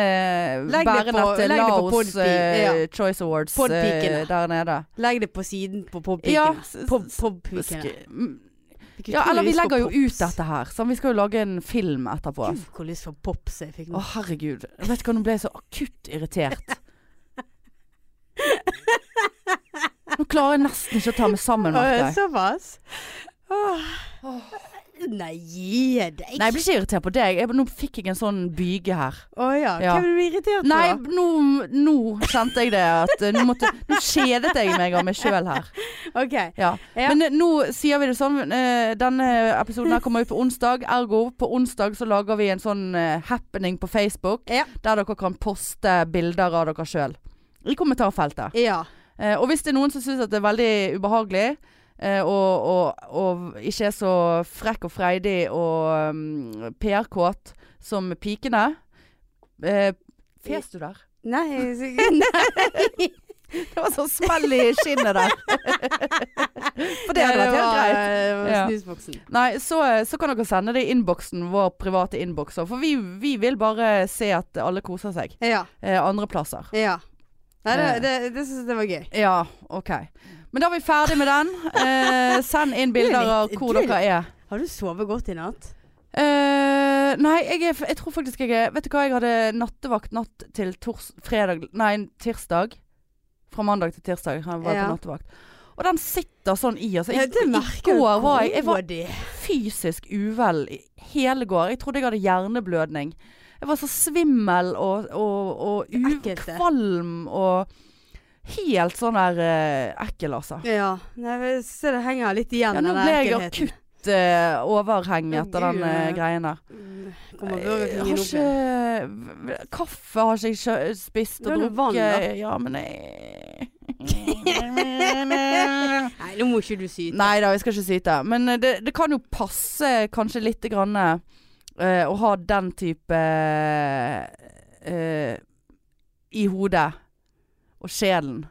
B: Legg det på-
A: bærenett til
B: legg det på
A: Laos
B: Podpi-
A: eh,
B: ja.
A: Choice Awards eh,
B: Podpikene.
A: der nede.
B: Legg det på siden på
A: Ja,
B: podpikene.
A: s-
B: På
A: s-
B: podpikene.
A: sk- mm, ja, eller vi legger jo ut dette her. Sånn, vi skal jo lage en film etterpå.
B: Gud, hvor lyst på pops jeg fikk
A: Å,
B: nå.
A: herregud. Jeg vet ikke hva, nå ble jeg så akutt irritert. Nå klarer jeg nesten ikke å ta meg sammen.
B: Åh,
A: merker jeg.
B: Såpass? Åh. Nei, gi deg.
A: Nei, jeg blir ikke irritert på deg. Jeg, nå fikk jeg en sånn byge her.
B: Å ja.
A: Ja.
B: Hvem er du irritert på?
A: Nei,
B: da?
A: nå, nå kjente jeg det. At, eh, nå, måtte, nå kjedet jeg meg av meg sjøl her.
B: OK.
A: Ja.
B: Ja.
A: Men eh, nå sier vi det sånn. eh, denne episoden her kommer ut på onsdag. Ergo på onsdag så lager vi en sånn eh, happening på Facebook.
B: Ja.
A: Der dere kan poste bilder av dere sjøl. I kommentarfeltet.
B: Ja.
A: Eh, og hvis det er noen som syns at det er veldig ubehagelig, eh, og, og, og ikke er så frekk og freidig og um, PR-kåt som pikene eh, Fes du der?
B: Nei, jeg- Nei.
A: Det var sånn smell i skinnet der. For det hadde vært helt greit. Ja.
B: greit. Snusboksen.
A: Nei, så, så kan dere sende det i innboksen, vår private innboks. For vi, vi vil bare se at alle koser seg.
B: Ja.
A: Eh, andre plasser.
B: ja. Nei, det, det, det synes jeg var gøy.
A: Ja, OK. Men da er vi ferdig med den. Eh, send inn bilder av hvor
B: Du er litt-
A: dere er.
B: Har du sovet godt i natt?
A: Eh, nei, jeg, er, jeg tror faktisk jeg er Vet du hva, jeg hadde nattevakt natt til tors, fredag Nei, tirsdag. Fra mandag til tirsdag har jeg vært
B: Ja.
A: på nattevakt. Og den sitter sånn i. Altså,
B: Ja,
A: jeg,
B: det merker
A: I går var jeg, jeg var
B: det.
A: fysisk uvel i- hele går. Jeg trodde jeg hadde hjerneblødning. Jeg var så svimmel og, og, og u-
B: Ekkelt, det.
A: kvalm og Helt sånn der eh, ekkel, altså.
B: Ja. Nei, jeg ser det henger litt igjen.
A: Ja, nå
B: den
A: ble jeg
B: ekkelheten.
A: akutt eh, overheng
B: Å,
A: etter den eh,
B: Gud.
A: greien der.
B: Mm, Kommer
A: Jeg
B: burgerfingeren
A: har
B: opp igjen.
A: ikke Kaffe har ikke jeg kjø- spist
B: Du
A: og
B: har noe
A: drukket.
B: vann, da.
A: Ja, men jeg
B: Nei, nå må ikke du syte.
A: Nei da, vi skal ikke syte. Men eh, det, det kan jo passe kanskje lite grann eh, å ha den type eh, i hodet og sjelen.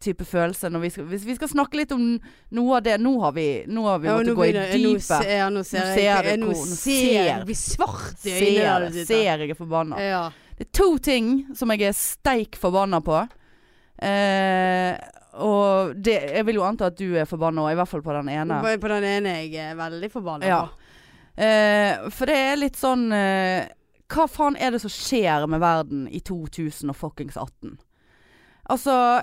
A: Type følelse når vi skal, Hvis vi skal snakke litt om noe av det Nå har vi, nå har vi
B: Ja,
A: måttet
B: nå
A: gå i
B: begynner- nå se-
A: dypet.
B: Ja, nå ser
A: Nå
B: jeg
A: ser
B: jeg-
A: du
B: Nå
A: hvor- nå
B: ser
A: ser-
B: jeg blir svart i øynene.
A: Ser,
B: der du sitter.
A: ser jeg er forbanna.
B: Ja.
A: Det er to ting som jeg er steik forbanna på. Eh, og det, jeg vil jo anta at du er forbanna òg, i hvert fall på den ene.
B: På, på den ene jeg er veldig forbanna
A: Ja.
B: på.
A: Eh, for det er litt sånn eh, Hva faen er det som skjer med verden i 2018? Altså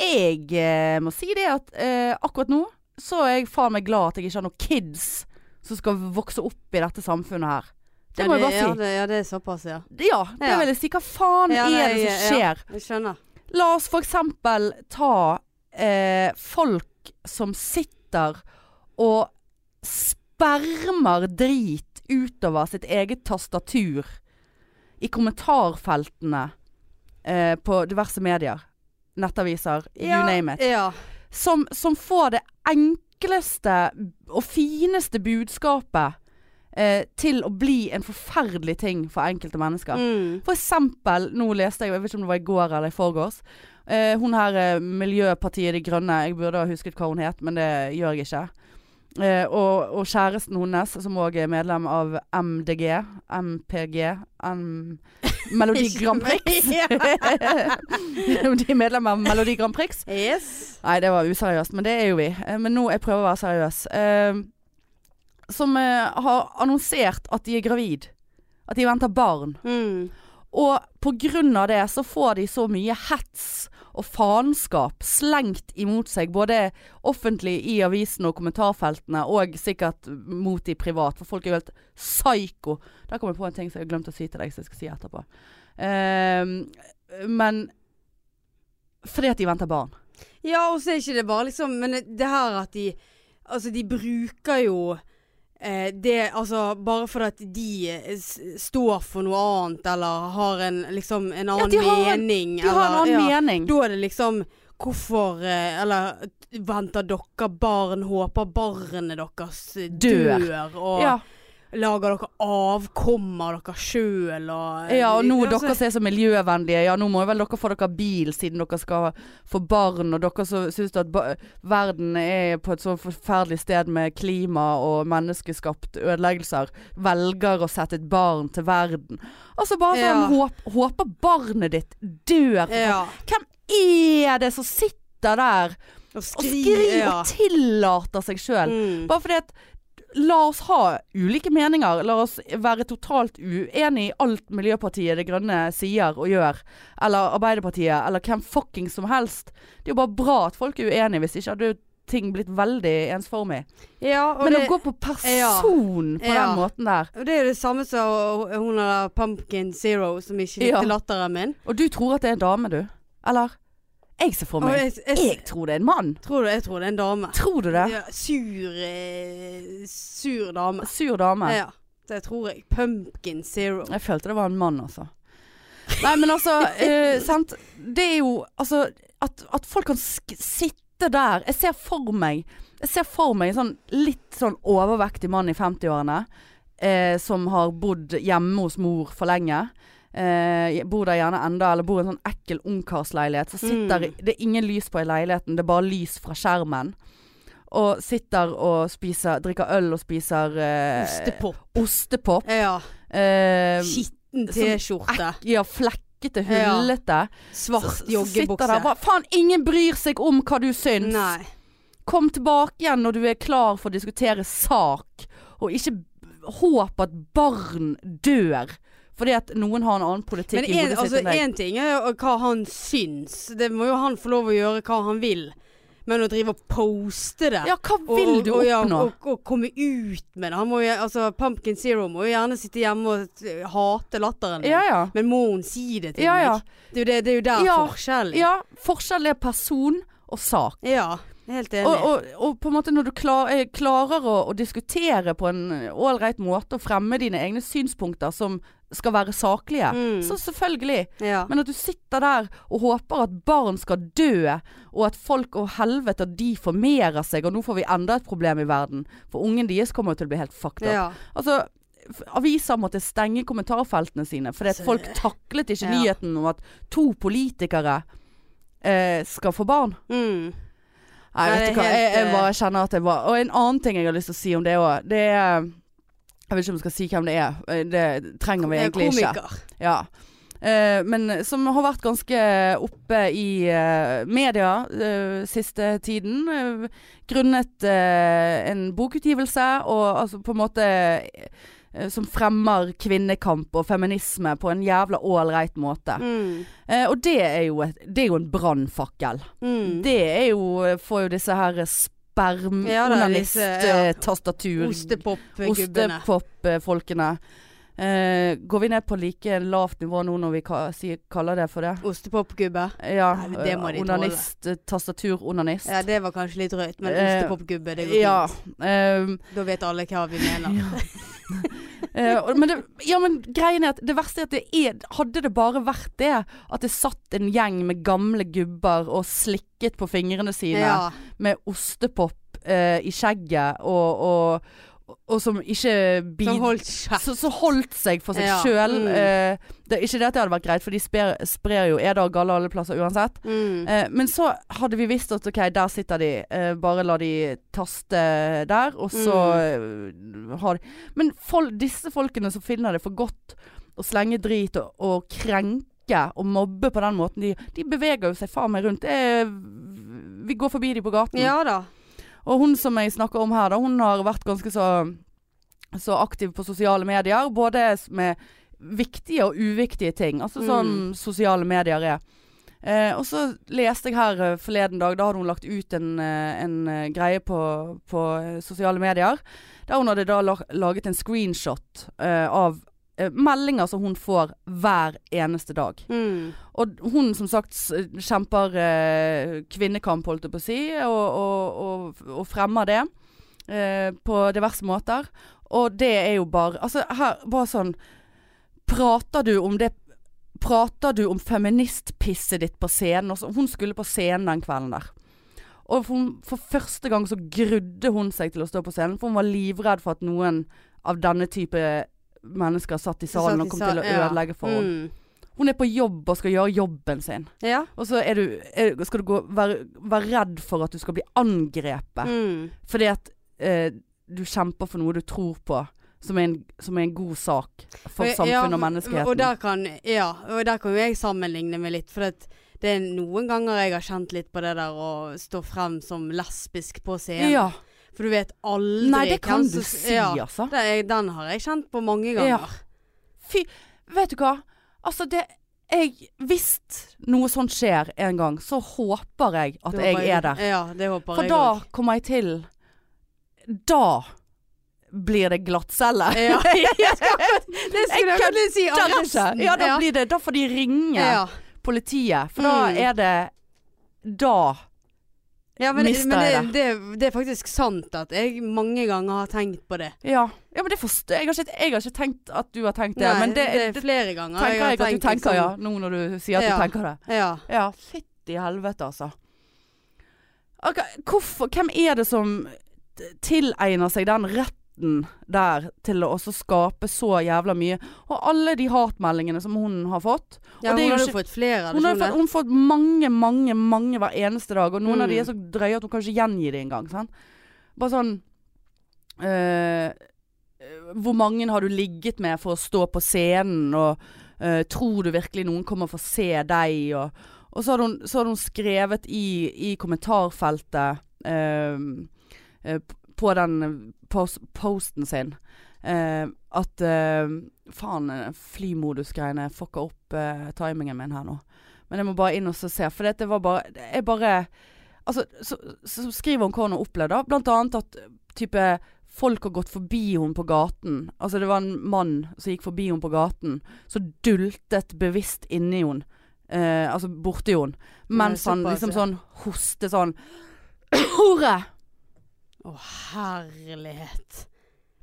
A: Jeg eh, må si det at eh, akkurat nå så er jeg faen meg glad at jeg ikke har noen kids som skal vokse opp i dette samfunnet her. Det
B: Ja,
A: må jeg bare
B: Ja
A: si.
B: det, ja, det er såpass, ja.
A: Ja, det
B: Ja.
A: vil jeg si. Hva faen
B: Ja,
A: er
B: nei,
A: det som
B: ja.
A: skjer?
B: Jeg skjønner.
A: La oss for eksempel ta eh, folk som sitter og spermer drit utover sitt eget tastatur i kommentarfeltene eh, på diverse medier. Nettaviser, you name it.
B: Ja.
A: Som, som får det enkleste og fineste budskapet eh, til å bli en forferdelig ting for enkelte mennesker.
B: Mm.
A: For eksempel, nå leste jeg, jeg vet ikke om det var i går eller i forgårs, eh, hun her eh, Miljøpartiet De Grønne, jeg burde ha husket hva hun het, men det gjør jeg ikke. Eh, og, og kjæresten hennes, som òg er medlem av MDG, MPG, M Melodi Grand Prix.
B: Ja.
A: De er medlem av Melodi Grand Prix.
B: Yes.
A: Nei, det var useriøst, men det er jo vi. Eh, Men nå jeg prøver å være seriøs. Eh, som eh, har annonsert at de er gravid. At de venter barn.
B: Mm.
A: Og på grunn av det så får de så mye hets og faenskap slengt imot seg, både offentlig i avisen og kommentarfeltene, og sikkert mot de privat, for folk er jo helt psyko. Der kom jeg på en ting som jeg har glemt å si til deg, som jeg skal si etterpå. Ehm, men fordi at de venter barn.
B: Ja, og så er ikke det bare liksom Men det her at de Altså, de bruker jo eh, det Altså, bare fordi at de eh, s står for noe annet, eller har en liksom en annen
A: de har en-
B: mening,
A: De har en annen
B: ja.
A: mening.
B: Da er det liksom Hvorfor eh, Eller t- venter dere barn, håper barnet deres eh,
A: Dør.
B: og
A: Ja,
B: lager dere avkommer dere sjøl og
A: ja, og nå
B: Altså,
A: dere som er så miljøvennlige, ja nå må vel dere få dere bil siden dere skal få barn, og dere som syns at ba verden er på et så forferdelig sted med klima og menneskeskapt ødeleggelser, velger å sette et barn til verden. Altså bare sånn
B: Ja.
A: håp, Håper barnet ditt dør.
B: Ja.
A: Hvem er det som sitter der
B: Og
A: og
B: skri,
A: skriver
B: ja.
A: og tillater seg sjøl?
B: Mm.
A: Bare fordi at La oss ha ulike meninger. La oss være totalt uenige i alt Miljøpartiet De Grønne sier og gjør. Eller Arbeiderpartiet, eller hvem fucking som helst. Det er jo bare bra at folk er uenige, hvis ikke hadde jo ting blitt veldig ensformig.
B: Ja, og
A: Men
B: det-
A: å gå på person på
B: Ja.
A: den måten der
B: Og Det er jo det samme som hun der Pumpkin Zero, som ikke
A: Ja.
B: likte latteren min.
A: Og du tror at det er en dame, du? Eller? Jeg ser for
B: Og
A: meg
B: jeg, jeg,
A: Jeg tror det er en mann.
B: tror det, jeg tror det er en dame.
A: Tror du det?
B: Ja, sur eh, Sur dame.
A: Sur dame.
B: Ja, det tror jeg. Pumpkin Zero.
A: Jeg følte det var en mann, altså. Nei, men altså, eh, sant. Det er jo altså At, at folk kan sk sitte der. Jeg ser for meg Jeg ser for meg en sånn litt sånn overvektig mann i 50-årene eh, som har bodd hjemme hos mor for lenge. eh, bor der gjerne enda, eller bor i en sånn ekkel ungkarsleilighet. Så sitter
B: Mm.
A: Det er ingen lys på i leiligheten, det er bare lys fra skjermen. Og sitter og spiser Drikker øl og spiser eh,
B: Ostepop.
A: ostepop.
B: Ja.
A: Eh,
B: Skitten T-skjorte.
A: ja, flekkete,
B: Ja.
A: hullete.
B: Svart
A: Så- så sitter der
B: joggebukse.
A: bare Faen, ingen bryr seg om hva du syns!
B: Nei.
A: Kom tilbake igjen når du er klar for å diskutere sak, og ikke b- håp at barn dør fordi at noen har en annen politikk
B: Men
A: i
B: en,
A: hodet
B: altså,
A: sitt enn deg.
B: en ting er jo hva han syns. Det må jo han få lov å gjøre hva han vil. Men å drive og poste det
A: Ja, hva vil
B: og,
A: du
B: og, ja,
A: oppnå?
B: Og, og komme ut med det. Han må jo, altså, Pumpkin Zero må jo gjerne sitte hjemme og t- hate latteren min.
A: Ja, ja.
B: Men må hun si det til
A: Ja, ja.
B: meg? Det er jo, det, det er jo der
A: Ja.
B: forskjellen
A: ja forskjell er person og sak.
B: ja, helt enig.
A: Og, og, og på en måte når du klar, eh, klarer å, å diskutere på en ålreit måte og fremme dine egne synspunkter som skal være saklige,
B: Mm.
A: så selvfølgelig.
B: ja.
A: Men at du sitter der og håper at barn skal dø, og at folk og helvete at de formerer seg, og nå får vi enda et problem i verden. For ungen deres kommer jo til å bli helt fucked up.
B: ja.
A: Altså, f- aviser måtte stenge kommentarfeltene sine, fordi at
B: Så-
A: folk taklet ikke
B: Ja.
A: nyheten om at to politikere eh, skal få barn.
B: Mm.
A: Nei,
B: Nei,
A: vet du
B: det er
A: hva. Jeg, jeg
B: helt, eh,
A: bare kjenner at jeg bare Og en annen ting jeg har lyst til å si om det òg, det er Jeg vet ikke om jeg skal si hvem det er. Eh, Det trenger vi
B: Eh,
A: egentlig ikke.
B: Komiker.
A: Ja. Eh, men som har vært ganske oppe i eh, media eh, siste tiden. eh, grunnet eh, en bokutgivelse og altså på en måte eh, som fremmer kvinnekamp og feminisme på en jævla ålreit måte.
B: Mm.
A: Eh, og det er jo, et, det er jo en brannfakkel.
B: Mm.
A: Det er jo eh, Får jo disse her
B: Ja, det er disse, ja.
A: spermonalist-tastatur...
B: Ostepop-gubbene.
A: Ostepop-folkene. Eh, går vi ned på like lavt nivå nå når vi ka sier, kaller det for det?
B: Ostepop-gubbe.
A: Ja.
B: Nei, men det må de
A: eh, onanist. eh, Tastatur-onanist.
B: Ja, det var kanskje litt drøyt, men
A: Eh,
B: ostepop-gubbe, det går
A: Ja,
B: fint.
A: ehm,
B: Da vet alle hva vi mener.
A: eh, og- men det, ja, men greien er at det verste er at det er Hadde det bare vært det, at det satt en gjeng med gamle gubber og slikket på fingrene sine
B: Ja.
A: med ostepop eh, i skjegget, og, og, og som ikke
B: Som
A: bidro
B: holdt kjeft.
A: så, så holdt seg for seg
B: Ja,
A: sjøl.
B: mm.
A: det er ikke det at det hadde vært greit, for de sprer, sprer jo eder og galle alle plasser uansett.
B: Mm.
A: Eh, men så hadde vi visst at ok, der sitter de, eh, bare la de taste der, og så
B: Mm.
A: eh, har de Men fol disse folkene som finner det for godt å slenge drit og, og krenke og mobbe på den måten, de, de beveger jo seg faen meg rundt. Det er- vi går forbi de på gaten.
B: Ja da.
A: Og hun som jeg snakker om her, da, hun har vært ganske så, så aktiv på sosiale medier. Både s- med viktige og uviktige ting. Altså sånn
B: Mm.
A: sosiale medier er. Eh, og så leste jeg her eh, forleden dag, da hadde hun lagt ut en, eh, en eh, greie på, på eh, sosiale medier. Der hun hadde da la- laget en screenshot eh, av eh, meldinger som hun får hver eneste dag.
B: Mm.
A: Og hun som sagt s- kjemper eh, kvinnekamp, holdt jeg på å si, og, og, og, og fremmer det eh, på diverse måter. Og det er jo bare Altså, her bare sånn Prater du om det Prater du om feministpisset ditt på scenen? Og så- hun skulle på scenen den kvelden der. Og for, hun, for første gang så grudde hun seg til å stå på scenen, for hun var livredd for at noen av denne type mennesker satt i salen og kom til å ødelegge for henne.
B: Mm.
A: Hun er på jobb og skal gjøre jobben sin.
B: Ja.
A: Og så er du, er, skal du gå, være, være redd for at du skal bli angrepet.
B: Mm.
A: Fordi at eh, du kjemper for noe du tror på, som er en, som er en god sak for
B: Eh, Ja,
A: samfunnet og
B: Og
A: menneskeheten.
B: der kan, ja, og der kan jo jeg sammenligne meg litt, for det, det er noen ganger jeg har kjent litt på det der å stå frem som lesbisk på scenen.
A: ja.
B: For du vet aldri
A: Nei, det
B: hvem
A: kan du
B: som-
A: si,
B: ja,
A: altså.
B: det er, Den har jeg kjent på mange ganger.
A: Fy, vet du hva? Altså, det jeg, Hvis noe sånt skjer en gang, så håper jeg at
B: Det håper
A: jeg er der.
B: Ja, det håper
A: For
B: jeg
A: da
B: også.
A: kommer jeg til Da blir det glattcelle.
B: Ja, jeg skal, det skulle
A: Jeg
B: jeg vel si. adressen.
A: Deretter, ja, da blir det Da får de ringe
B: ja.
A: politiet, for da
B: Mm.
A: er det Da.
B: Ja, men,
A: Mister
B: men
A: jeg
B: det, det, det er faktisk sant at jeg mange ganger har tenkt på det.
A: Ja, ja men det forstår jeg. Har ikke, jeg har ikke tenkt at du har tenkt det,
B: Nei,
A: men det,
B: det er
A: det
B: flere ganger.
A: tenker jeg at du tenker, ja.
B: liksom-
A: Nå når du sier at
B: Ja.
A: du tenker det.
B: ja.
A: Ja, fytti helvete, altså. Ok, hvorfor, hvem er det som t- tilegner seg den retten kraften der til å også skape så jævla mye. Og alle de hatmeldingene som hun har fått.
B: Ja,
A: og det er jo
B: hun har jo
A: ikke-
B: fått flere.
A: Hun har
B: ikke
A: jo fått, hun har fått mange, mange, mange hver eneste dag. Og noen
B: Mm.
A: av de er så drøye at hun kan ikke gjengi det engang. sant? Bare sånn eh, Hvor mange har du ligget med for å stå på scenen, og eh, tror du virkelig noen kommer for å se deg, og, og så, hadde hun, så hadde hun skrevet i, i kommentarfeltet eh, eh, på den pos posten sin eh, at eh, faen, eh, flymodus-greiene fucka opp eh, timingen min her nå. Men jeg må bare inn og så se, for det, det var bare det- Jeg bare Altså, så, så skriver hun hva hun har opplevd, da. Blant annet at eh, type folk har gått forbi henne på gaten. Altså, det var en mann som gikk forbi henne på gaten, som dultet bevisst inni henne. Eh, altså borti henne. Mens
B: Ja,
A: han
B: såpass,
A: liksom
B: ja.
A: sånn hoste sånn Hore!
B: Å, herlighet.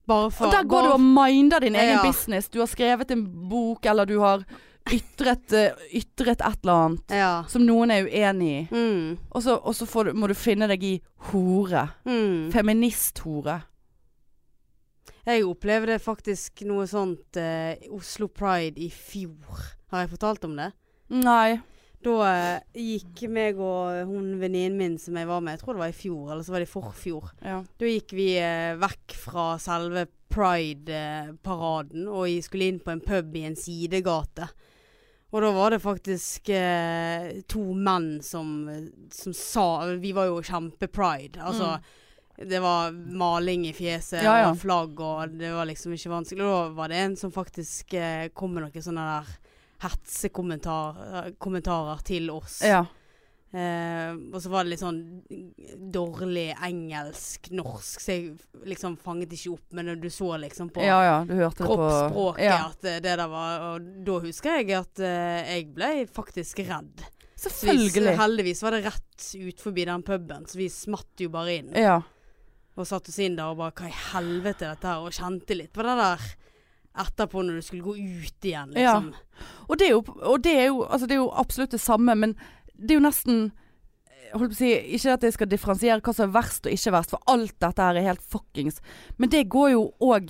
B: Bare for
A: Og der går
B: bare
A: du og minder din egen
B: Ja.
A: business. Du har skrevet en bok, eller du har ytret, eh, ytret et eller annet
B: for- Ja.
A: som noen er uenig i.
B: Mm.
A: Og så, og så får du, må du finne deg i hore.
B: Mm.
A: Feministhore.
B: Jeg opplevde faktisk noe sånt eh, i Oslo Pride i fjor. Har jeg fortalt om det?
A: Nei.
B: Da eh, gikk meg og hun venninnen min som jeg var med, jeg tror det var i fjor, eller så var det i forfjor.
A: Ja.
B: Da gikk vi eh, vekk fra selve Pride-paraden og vi skulle inn på en pub i en sidegate. Og da var det faktisk eh, to menn som, som sa Vi var jo kjempe-pride. Altså, det var maling i fjeset
A: Mm. Ja, ja.
B: og flagg, og det var liksom ikke vanskelig. Og da var det en som faktisk eh, kom med noen sånne der hetsekommentarer til oss.
A: ja.
B: Eh, og så var det litt sånn dårlig engelsk, norsk, så jeg liksom fanget ikke opp. Men du så liksom på
A: Ja ja, du hørte det på
B: kroppsspråket
A: Ja.
B: at eh, det der var Og da husker jeg at eh, jeg ble faktisk redd. Så vi-
A: Selvfølgelig.
B: heldigvis var det rett ut forbi den puben, så vi smatt jo bare inn.
A: Ja.
B: Og satt oss inn der og bare Hva i helvete er dette her? Og kjente litt på det der etterpå når du skulle gå ut igjen,
A: Ja.
B: liksom.
A: Og det er jo, og det er jo, altså det er jo absolutt det samme, men det er jo nesten eh, holdt på å si, Ikke at jeg skal differensiere hva som er verst og ikke verst, for alt dette her er helt fuckings. Men det går jo òg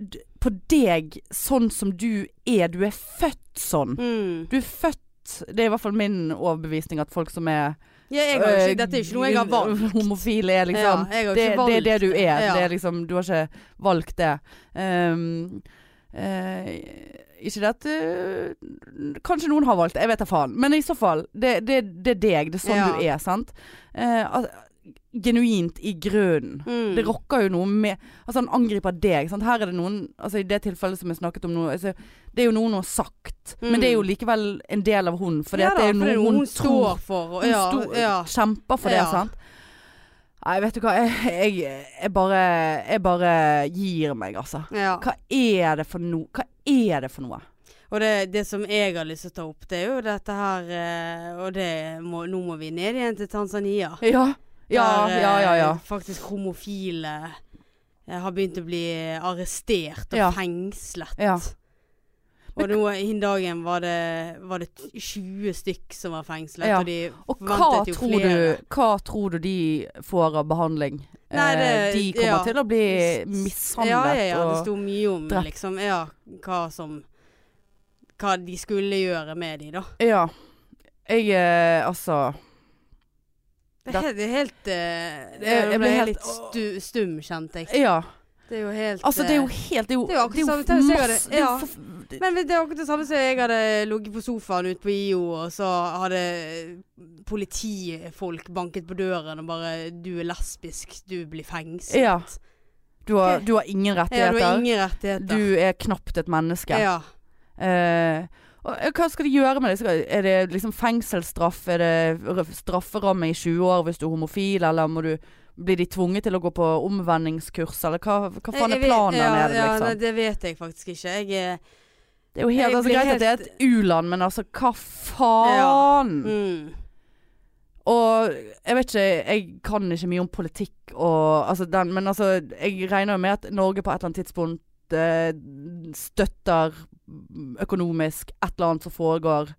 A: d- på deg sånn som du er. Du er født sånn.
B: Mm.
A: Du er født Det er i hvert fall min overbevisning at folk som er
B: Ja, jeg har jo
A: eh,
B: ikke, dette er jo ikke noe jeg har valgt.
A: Homofile er liksom
B: ja, jeg har jo
A: det,
B: ikke valgt
A: det er det du er.
B: Ja.
A: Det er liksom, du har ikke valgt det. Ehm, eh, ikke det at eh, Kanskje noen har valgt det, jeg vet da faen. Men i så fall, det, det, det er deg. Det er sånn
B: Ja.
A: du er, sant? Eh, al- genuint i grunnen.
B: Mm.
A: Det rokker jo noe med Altså, han angriper deg. Sant? Her er det noen Altså, i det tilfellet som jeg snakket om nå altså, Det er jo noe hun har sagt,
B: Mm.
A: men det er jo likevel en del av hun. For
B: Ja
A: det
B: da,
A: er jo
B: for det
A: noe
B: er
A: hun,
B: noe hun
A: tror
B: står for. Og,
A: hun
B: ja,
A: sto-
B: ja.
A: kjemper for
B: Ja.
A: det, sant? Nei, vet du hva. Jeg, jeg, jeg, bare, jeg bare gir meg, altså.
B: ja.
A: Hva er det for noe? Hva er det for noe?
B: Og det, det som jeg har lyst til å ta opp, det er jo dette her eh, Og det må, nå må vi ned igjen til Tanzania.
A: Ja. Ja,
B: Der, eh,
A: ja, ja. ja.
B: Faktisk homofile eh, har begynt å bli arrestert og
A: Ja.
B: fengslet.
A: Ja.
B: Og nå innen dagen var det, var det 20 stykk som var fengslet.
A: Ja.
B: Og de
A: Og hva
B: forventet jo
A: tror,
B: flere.
A: du, hva tror du de får av behandling?
B: Nei,
A: Eh,
B: det-
A: de kommer
B: ja.
A: til å bli mishandlet
B: Ja, ja, ja. Det
A: og
B: sto mye om
A: drept.
B: liksom, ja, hva som Hva de skulle gjøre med de, da.
A: Ja. Jeg eh, altså
B: Det
A: Da-
B: er helt, det er helt eh,
A: Jeg- jeg ble
B: Jeg ble
A: helt-
B: litt stu, stum, kjente jeg.
A: Ja.
B: Det er jo helt
A: Altså, det er jo
B: eh,
A: helt Det er jo,
B: Det er jo akkurat samme
A: det er jo
B: som jeg hadde-
A: masse det er jo
B: ja.
A: forf- det-
B: Men det er akkurat det samme som jeg hadde ligget på sofaen ute på IO, og så hadde politifolk banket på døren og bare 'Du er lesbisk, du blir fengslet'.
A: Ja. Du har,
B: Ok.
A: du har ingen
B: Ja, du har
A: rettigheter.
B: ingen rettigheter.
A: Du er knapt et menneske.
B: ja.
A: Eh, og hva skal de gjøre med det? Skal, er det liksom fengselsstraff? Er det r- strafferamme i 20 år hvis du er homofil, eller må du Blir de tvunget til å gå på omvendingskurs, eller hva, hva faen er
B: Jeg- jeg vet-
A: planen der
B: ja,
A: nede,
B: ja,
A: liksom?
B: nei, det vet jeg faktisk ikke. Jeg er
A: det er jo helt,
B: jeg
A: altså,
B: blir
A: greit at det er
B: helt-
A: et u-land, men altså, hva faen?
B: mm.
A: Og jeg vet ikke, jeg kan ikke mye om politikk og altså den, men altså jeg regner jo med at Norge på et eller annet tidspunkt eh, støtter økonomisk et eller annet som foregår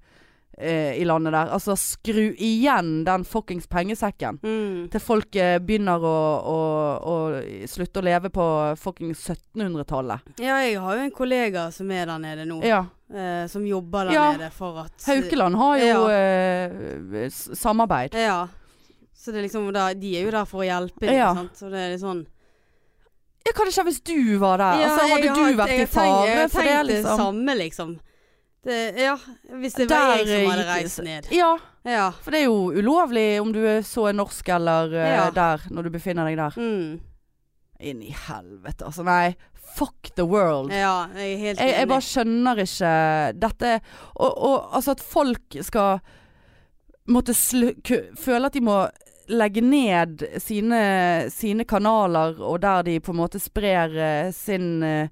A: eh, i landet der. Altså, skru igjen den fuckings pengesekken.
B: Mm.
A: Til folk eh, begynner å, å, å slutte å leve på fuckings 1700-tallet.
B: Ja, jeg har jo en kollega som er der nede nå.
A: Ja.
B: Eh, som jobber der
A: Ja.
B: nede for at
A: Haukeland har jo
B: Ja.
A: eh, s- samarbeid.
B: Ja. Så det er liksom da, De er jo der for å hjelpe, ikke
A: Ja.
B: sant. Så det er litt sånn
A: Ja, hva hadde skjedd hvis du var der?
B: Ja,
A: altså,
B: jeg
A: hadde
B: har-
A: du vært i
B: jeg har tenkt-
A: fare for
B: Jeg
A: det,
B: har tenkt det
A: liksom?
B: samme, liksom. Det, ja, hvis det var
A: Der,
B: jeg som hadde
A: eh, gikk-
B: reist ned.
A: Ja,
B: Ja.
A: for det er jo ulovlig om du er så er norsk eller eh,
B: Ja.
A: der, når du befinner deg der.
B: Mm.
A: Inn i helvete, altså. Nei, fuck the world.
B: ja, jeg er helt
A: Jeg, jeg
B: enig.
A: bare skjønner ikke dette Og, og altså at folk skal måtte slu, ku, føle at de må legge ned sine, sine kanaler, og der de på en måte sprer eh, sin, eh,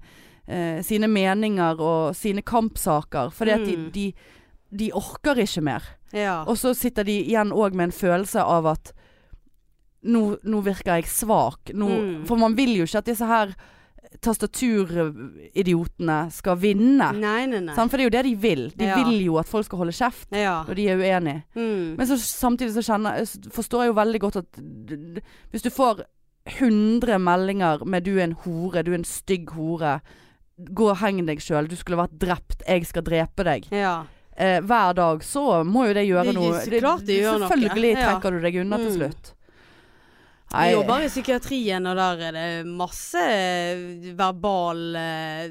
A: eh, sine meninger og sine kampsaker. Fordi at de,
B: Mm.
A: de, de orker ikke mer.
B: ja.
A: Og så sitter de igjen òg med en følelse av at nå, nå virker jeg svak. Nå,
B: Mm.
A: For man vil jo ikke at disse her tastaturidiotene skal vinne.
B: Nei, nei, nei.
A: Sant? For det er jo det de vil. De
B: Ja.
A: vil jo at folk skal holde kjeft
B: Ja.
A: når de er uenige.
B: Mm.
A: Men så, samtidig så kjenner, s- forstår jeg jo veldig godt at d- d- hvis du får 100 meldinger med 'du er en hore', 'du er en stygg hore', 'gå og heng deg sjøl', 'du skulle vært drept', 'jeg skal drepe deg'
B: ja.
A: eh, hver dag, så må jo det gjøre
B: Det-
A: noe.
B: så klart det gjør noe.
A: selvfølgelig
B: Ja.
A: trekker du deg unna til
B: Mm.
A: slutt.
B: Jeg jobber i psykiatrien, og der er det masse eh, verbal eh,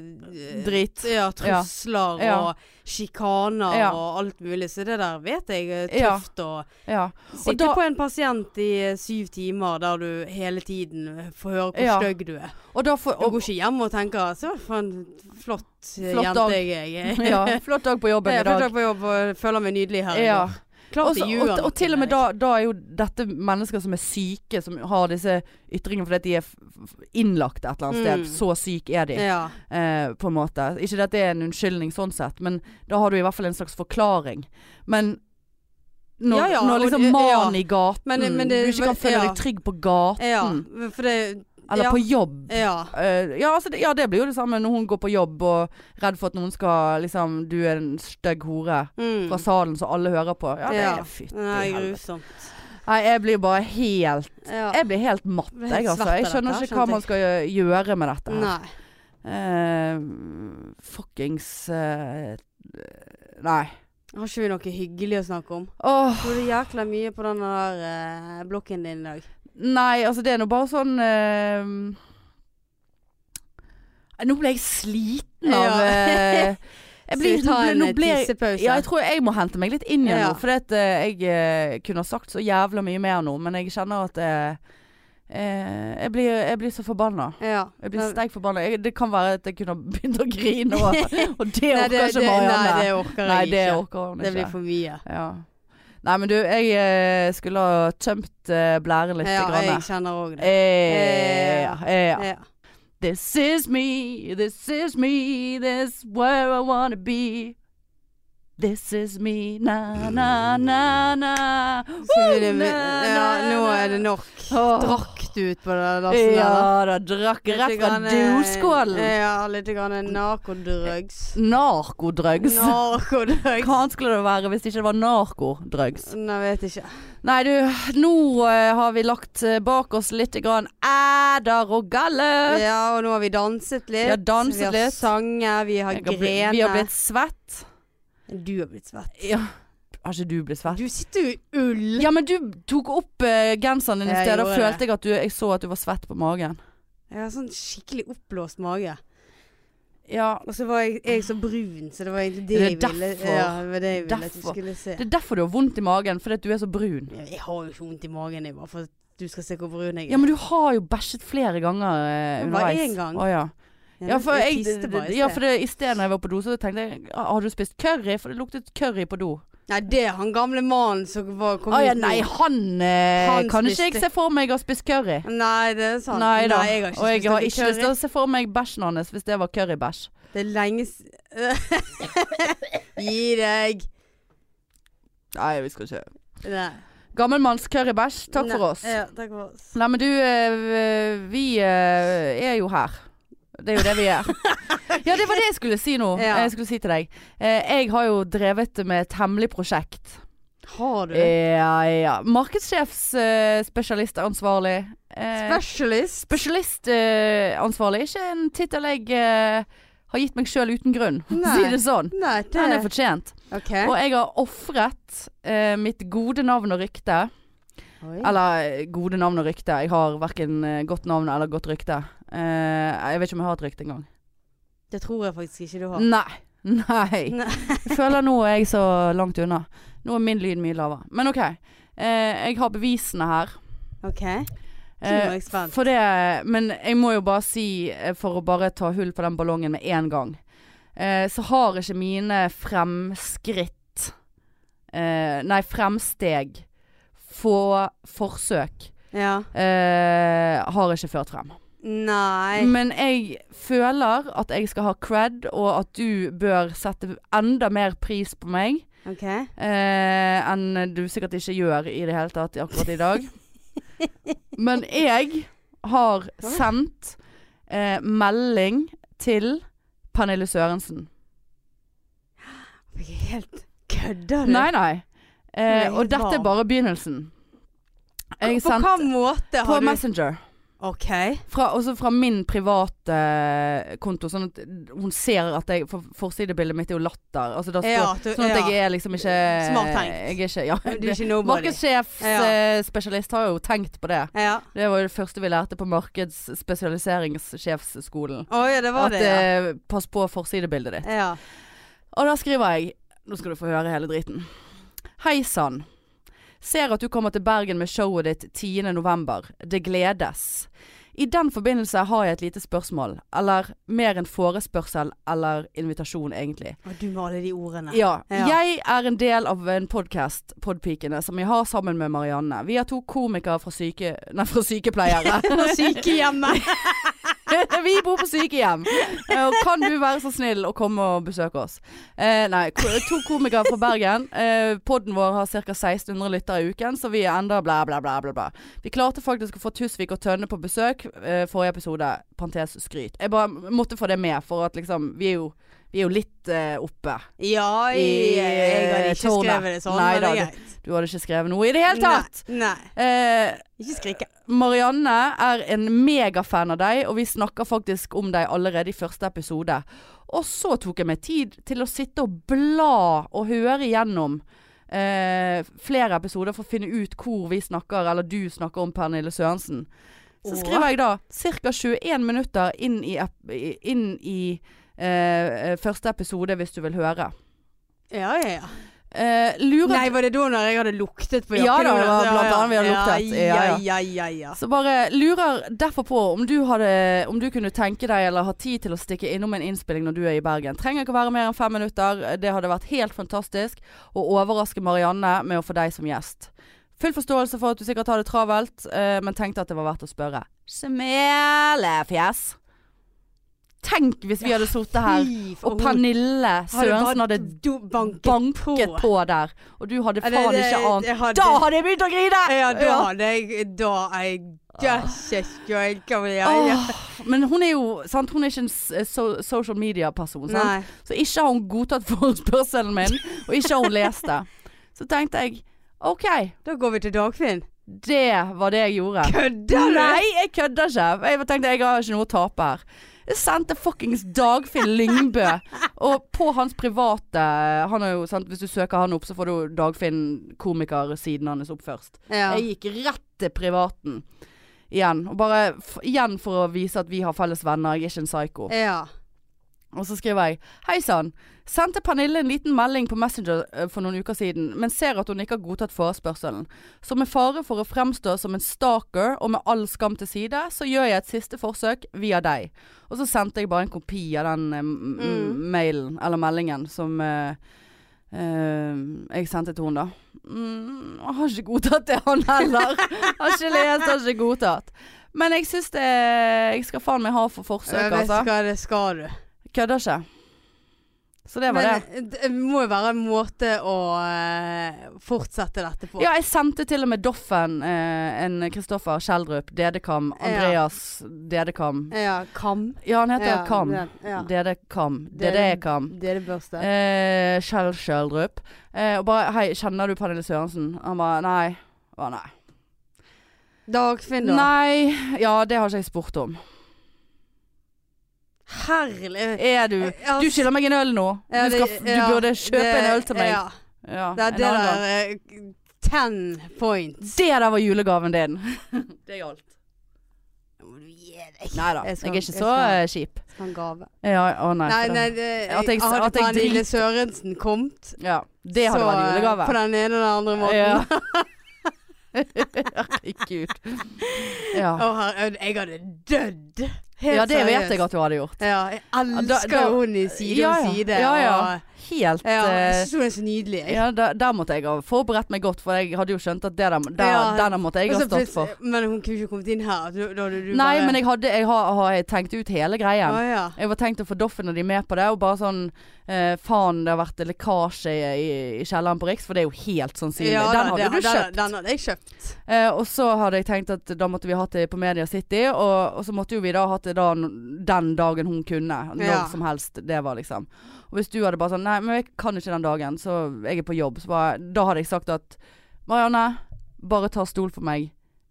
A: drit.
B: Ja, trusler
A: Ja.
B: og sjikaner
A: Ja.
B: og alt mulig. Så det der vet jeg er
A: Ja.
B: tøft å
A: Ja.
B: Sitte
A: da-
B: på en pasient i eh, syv timer der du hele tiden får høre hvor
A: Ja.
B: stygg du er.
A: Og da får,
B: Du går
A: og,
B: ikke hjem og tenker 'så for en flott, eh,
A: Flott
B: jente
A: dag.
B: jeg er'.
A: ja, flott dag på jobben
B: Jeg
A: i
B: har fått
A: dag.
B: dag på jobb og føler meg nydelig her. i
A: Ja.
B: går. Klart
A: Også,
B: det ljuger
A: og, og
B: noen
A: til og med da,
B: der,
A: da er jo dette mennesker som er syke, som har disse ytringene fordi at de er f- f- innlagt et eller annet sted.
B: Mm.
A: Så syk er de,
B: ikke? Ja.
A: eh, på en måte. Ikke at det er en unnskyldning sånn sett, men da har du i hvert fall en slags forklaring. Men når,
B: Ja, ja, og-
A: når liksom
B: ja.
A: mannen i gaten
B: Men- men det-
A: Du ikke kan føle
B: ja.
A: deg trygg på gaten
B: ja.
A: Mm.
B: For det
A: eller
B: ja.
A: på jobb.
B: Ja.
A: Eh, ja, altså det, ja, det blir jo det samme når hun går på jobb og redd for at noen skal liksom Du er en stygg hore
B: Mm.
A: fra salen som alle hører på. Ja, det
B: Ja.
A: er fytti
B: Nei,
A: helvete.
B: grusomt.
A: Nei, jeg blir bare helt
B: Ja.
A: Jeg blir helt matt,
B: Blir helt
A: jeg, altså.
B: svett av
A: Jeg skjønner
B: dette her,
A: ikke hva
B: skjønte
A: man skal gjø- gjøre med dette. her.
B: Nei.
A: Eh, fuckings eh, Nei.
B: Har ikke vi noe hyggelig å snakke om?
A: Åh,
B: Du er jækla mye på den der eh, blokken din i dag.
A: nei, altså det er nå bare sånn eh, Nå ble jeg sliten av
B: Ja.
A: eh, jeg blir,
B: Skal vi
A: nå
B: ta
A: ble-
B: en eh,
A: nå ble jeg-
B: tissepause?
A: Ja, jeg tror jeg må hente meg litt inn igjen
B: Ja.
A: nå. For jeg eh, kunne ha sagt så jævla mye mer nå, men jeg kjenner at eh, eh, jeg, blir, jeg blir så forbanna.
B: ja.
A: Jeg blir sterkt forbanna. Jeg- Det kan være at jeg kunne ha begynt å grine, og, og det
B: Nei,
A: orker
B: det,
A: ikke
B: det, nei,
A: Marianne.
B: det orker
A: Nei,
B: jeg
A: det
B: ikke.
A: orker hun
B: Det blir
A: ikke.
B: for mye.
A: Ja. Nei, men du, jeg eh, skulle ha tømt eh, blæren litt.
B: Ja, jeg
A: grann.
B: kjenner òg det.
A: Eh, ja, eh, ja.
B: Ja.
A: This is me, this is me, this where I wanna be. This is me, na na na na.
B: Så
A: Woo,
B: blir det-
A: na,
B: ja,
A: na,
B: nå er det
A: na.
B: nok.
A: Åh.
B: Drakk altså. du ut på det dassen der?
A: Ja da, drakk rett fra
B: eh,
A: doskålen.
B: Ja, litt grann narkodrugs.
A: Narkodrugs.
B: Narkodrugs.
A: Hva annet skulle det være hvis det ikke var narkodrugs?
B: Nei, vet ikke.
A: Nei du, nå eh, har vi lagt eh, bak oss litt grann æder og galle.
B: Ja, og nå har vi danset litt.
A: Vi har danset
B: vi har
A: litt.
B: sanget, vi har
A: Jeg har bli-
B: grenet.
A: Vi har blitt svett.
B: Du har blitt svett.
A: Ja. Har ikke du blitt svett?
B: Du sitter jo i ull.
A: Ja, men du tok opp eh, genseren din i
B: Jeg
A: sted. Da
B: gjorde
A: følte jeg at du Jeg så at du var svett på magen.
B: Jeg har sånn skikkelig oppblåst mage.
A: Ja.
B: Og så var jeg, jeg så brun, så det var egentlig det,
A: Er det
B: jeg ville.
A: derfor?
B: Ja, det var det jeg ville at du
A: Derfor?
B: skulle se.
A: Det er derfor du har vondt i magen, fordi at du er så brun.
B: Jeg har jo ikke vondt i magen, jeg bare for at du skal se hvor brun jeg er.
A: Ja, men du har jo bæsjet flere ganger eh,
B: Det var
A: underveis.
B: én gang.
A: Å, ja.
B: Ja,
A: Ja, for,
B: jeg
A: jeg,
B: tiste bare i
A: ja,
B: sted.
A: for det, i sted når jeg var på do, så tenkte jeg "Ah, Har du spist curry? For det luktet curry på do.
B: Nei, det er han gamle mannen som var, kom
A: Å Ah, ja,
B: ut nå.
A: nei, han, eh,
B: Han
A: kan
B: spiste- Sånn.
A: ikke jeg se for meg har spist curry.
B: Nei, det er sant.
A: Nei da.
B: jeg har ikke
A: og jeg
B: spist
A: har
B: noe
A: ikke lyst til
B: curry.
A: å se for meg bæsjen hans hvis det var currybæsj.
B: Det er lenge siden Gi deg.
A: Nei, vi skal ikke
B: Nei.
A: Gammelmanns currybæsj, takk
B: Nei,
A: for oss.
B: Ja, takk for oss.
A: Nei, men du, eh, vi eh, er jo her. Det er jo det vi er. Ja, det var det jeg skulle si nå.
B: Ja.
A: Jeg skulle si til deg. Eh, Jeg har jo drevet med et hemmelig prosjekt.
B: Har du det?
A: Ja, ja. eh, Markedssjefsspesialistansvarlig.
B: eh,
A: Eh,
B: Specialist?
A: Spesialistansvarlig er ikke en tittel jeg eh, har gitt meg sjøl uten grunn, for å
B: Nei.
A: si det sånn.
B: Nei, det Eh?
A: Den er fortjent.
B: OK.
A: Og jeg har ofret eh, mitt gode navn og rykte.
B: Oi.
A: Eller eh, gode navn og rykte. Jeg har verken eh, godt navn eller godt rykte. Eh, jeg vet ikke om jeg har et rykte engang.
B: Det tror jeg faktisk ikke du har.
A: Nei. Nei.
B: Nei.
A: jeg føler nå er jeg så langt unna. Nå er min lyd mye lavere. Men OK. Eh, jeg har bevisene her.
B: OK. Nå er
A: Eh,
B: jeg spent.
A: for det Men jeg må jo bare si, eh, for å bare ta hull på den ballongen med en gang, eh, så har ikke mine fremskritt eh, Nei, fremsteg få forsøk
B: Ja.
A: eh, har ikke ført frem.
B: Nei.
A: Men jeg føler at jeg skal ha cred, og at du bør sette enda mer pris på meg
B: OK.
A: eh, enn du sikkert ikke gjør i det hele tatt akkurat i dag. Men jeg har sendt eh, melding til Pernille Sørensen.
B: Helt Kødder du?
A: Nei, nei. Eh,
B: Nei,
A: og dette er
B: hva?
A: bare begynnelsen. Jeg
B: på
A: sendte
B: hvilken måte
A: på
B: har du
A: Messenger.
B: OK.
A: Fra, også fra min private konto, sånn at hun ser at jeg For forsidebildet mitt er jo latter. Altså, da står,
B: Ja, at du-
A: sånn at
B: ja.
A: jeg er liksom ikke
B: Smart tenkt.
A: Jeg er ikke Ja.
B: Du er ikke nobody. Ja.
A: Markedssjefsspesialist eh, har jo tenkt på det.
B: Ja.
A: Det var jo det første vi lærte på markedsspesialiseringssjefsskolen.
B: Å ja, det var
A: At
B: det. Ja.
A: eh, pass på forsidebildet ditt.
B: ja.
A: Og da skriver jeg Nå skal du få høre hele driten. Hei sann. Ser at du kommer til Bergen med showet ditt 10. november. Det gledes. I den forbindelse har jeg et lite spørsmål. Eller mer en forespørsel eller invitasjon, egentlig.
B: Å, du med alle de ordene.
A: Ja.
B: Ja.
A: Jeg er en del av en podkast, Podpikene, som jeg har sammen med Marianne. Vi er to komikere fra syke... Nei, fra sykepleiere.
B: På sykehjemmet.
A: Vi bor på sykehjem. Eh, Og kan du være så snill å komme og besøke oss? Eh, nei, ko- to komikere fra Bergen. Eh, podden vår har ca. 1600 lyttere i uken, så vi er enda bla, bla, bla, bla, bla. Vi klarte faktisk å få Tusvik og Tønne på besøk eh, forrige episode. Parentes skryt. Jeg bare måtte få det med, for at liksom Vi er jo, vi er jo litt eh, oppe.
B: Ja, jeg, jeg hadde ikke
A: tårnet.
B: skrevet det sånn,
A: Nei
B: men det er
A: da,
B: greit.
A: Du hadde ikke skrevet noe i det hele tatt!
B: Nei. nei.
A: Eh,
B: Ikke skrike.
A: Marianne er en megafan av deg, og vi snakker faktisk om deg allerede i første episode. Og så tok jeg meg tid til å sitte og bla og høre igjennom eh, flere episoder for å finne ut hvor vi snakker, eller du snakker om Pernille Sørensen. Så
B: Åh.
A: skriver jeg da ca. 21 minutter inn i, ep- i- inn i eh, første episode, hvis du vil høre.
B: Ja, ja, ja.
A: Eh, lurer
B: Nei, var det da når jeg hadde luktet på
A: Ja da,
B: jakken?
A: det var
B: Ja,
A: blant
B: ja.
A: annet vi hadde luktet.
B: Ja,
A: Ja,
B: ja, ja, ja.
A: Så bare lurer derfor på om du, hadde, om du kunne tenke deg eller ha tid til å stikke innom en innspilling når du er i Bergen. Trenger ikke å være mer enn fem minutter. Det hadde vært helt fantastisk å overraske Marianne med å få deg som gjest. Full forståelse for at du sikkert har det travelt, eh, men tenkte at det var verdt å spørre. Smelefjes. Tenk hvis vi hadde sittet her,
B: Fy, for
A: og
B: hun
A: Pernille Sørensen hadde
B: do- banket,
A: banket på der, og du hadde
B: Ja, det-
A: faen
B: det-
A: ikke ant.
B: jeg hadde-
A: Da hadde jeg begynt å grine!
B: Ja, da
A: Ja.
B: hadde jeg Da jeg Dæsje skjønka vel jeg
A: Åh, men hun er jo sant? Hun er ikke en s- eh, so social media-person. sant?
B: Nei.
A: Så ikke har hun godtatt forespørselen min, og ikke har hun lest det. Så tenkte jeg OK,
B: Da går vi til Dagfinn.
A: det var det jeg gjorde.
B: Kødder du?
A: Nei, jeg kødder ikke. Jeg tenkte jeg har ikke noe å tape her. Jeg sendte fuckings Dagfinn Lyngbø. Og på hans private eh, han er jo, sant, Hvis du søker han opp, så får du Dagfinn komikersiden hans opp først.
B: Ja.
A: Jeg gikk rett til privaten igjen. Og bare f igjen for å vise at vi har felles venner, jeg er ikke en psyko.
B: ja.
A: Og så skriver jeg Hei sann. Sendte Pernille en liten melding på Messenger eh, for noen uker siden, men ser at hun ikke har godtatt forespørselen. Så med fare for å fremstå som en stalker og med all skam til side, så gjør jeg et siste forsøk via deg. Og så sendte jeg bare en kopi av den eh, m-
B: Mm.
A: mailen, eller meldingen, som eh, eh, jeg sendte til henne, da. Mm, han har ikke godtatt det, han heller. har ikke lest, har ikke godtatt. Men jeg syns det Jeg skal faen meg ha for
B: Jeg
A: forsøk,
B: vet
A: altså.
B: hva det skal du.
A: Kødder ikke. Så det var det.
B: Men det må jo være en måte å eh, fortsette dette på.
A: Ja, jeg sendte til og med Doffen eh, en Kristoffer Kjeldrup, Dedekam, Andreas Dedekam.
B: Ja, kam.
A: Ja, han heter
B: ja,
A: Kam.
B: den, Ja.
A: Dedekam.
B: Dede-
A: Dedekam.
B: Dedebørste.
A: Eh, Kjell Kjeldrup. Eh, og bare 'Hei, kjenner du Pernille Sørensen?' Han bare 'Nei'. Jeg Bare, nei.
B: Dagfinn, da.
A: nei. Ja, det har ikke jeg spurt om.
B: Herlig.
A: Er du
B: Eh, Ja, altså-
A: Du skylder meg en øl nå.
B: ja,
A: Du, skal,
B: det-
A: f- du
B: ja,
A: burde kjøpe
B: det-
A: en øl til meg.
B: Ja.
A: Ja,
B: Det er
A: en
B: det
A: annen gang.
B: der eh, Ten points.
A: Det der var julegaven din. det gjaldt.
B: Nå må du gi deg.
A: Nei da, jeg,
B: Jeg skal-
A: er ikke
B: jeg
A: så
B: skal-
A: eh, kjip.
B: Sånn gave.
A: Ja, å nei.
B: Nei,
A: for
B: nei,
A: det-
B: det,
A: At jeg-
B: hadde
A: at jeg
B: Pernille
A: driter-
B: Sørensen kommet,
A: Ja, det hadde
B: så,
A: vært
B: eh,
A: julegave.
B: På den ene eller den andre måten.
A: Ja. Herregud. Ja.
B: Å, herre- jeg hadde dødd. Helt
A: ja, det vet
B: seriøst.
A: jeg at du hadde gjort.
B: Ja, jeg elsker
A: da-
B: jo hun i Side
A: Ja, ja.
B: om side.
A: Ja, ja.
B: og-
A: Helt
B: ja jeg
A: eh,
B: synes hun er så nydelig. jeg.
A: ja, da, Der måtte jeg ha forberedt meg godt, for jeg hadde jo skjønt at det der, der,
B: Ja.
A: denne måtte jeg
B: Og
A: ha
B: så
A: stått for.
B: plutselig- Men hun kunne ikke kommet inn her. Du, da hadde du
A: Nei,
B: bare,
A: men jeg hadde jeg har, har tenkt ut hele
B: ja.
A: greien.
B: ja.
A: Jeg var tenkt å få Doffen og de med på det, og bare sånn eh, Faen, det har vært lekkasje i, i, i kjelleren på Riks, for det er jo helt sannsynlig.
B: Ja,
A: den
B: da,
A: hadde du
B: det- den-
A: kjøpt.
B: Den hadde jeg kjøpt.
A: Eh, og så hadde jeg tenkt at da måtte vi hatt det på Media City, og, og så måtte jo vi da hatt det da, n- den dagen hun kunne. Når
B: Ja.
A: som helst det var, liksom. Og hvis du hadde bare sånn Nei, men jeg kan ikke den dagen, så jeg er på jobb. Så bare, da hadde jeg sagt at Marianne, bare ta stol for meg.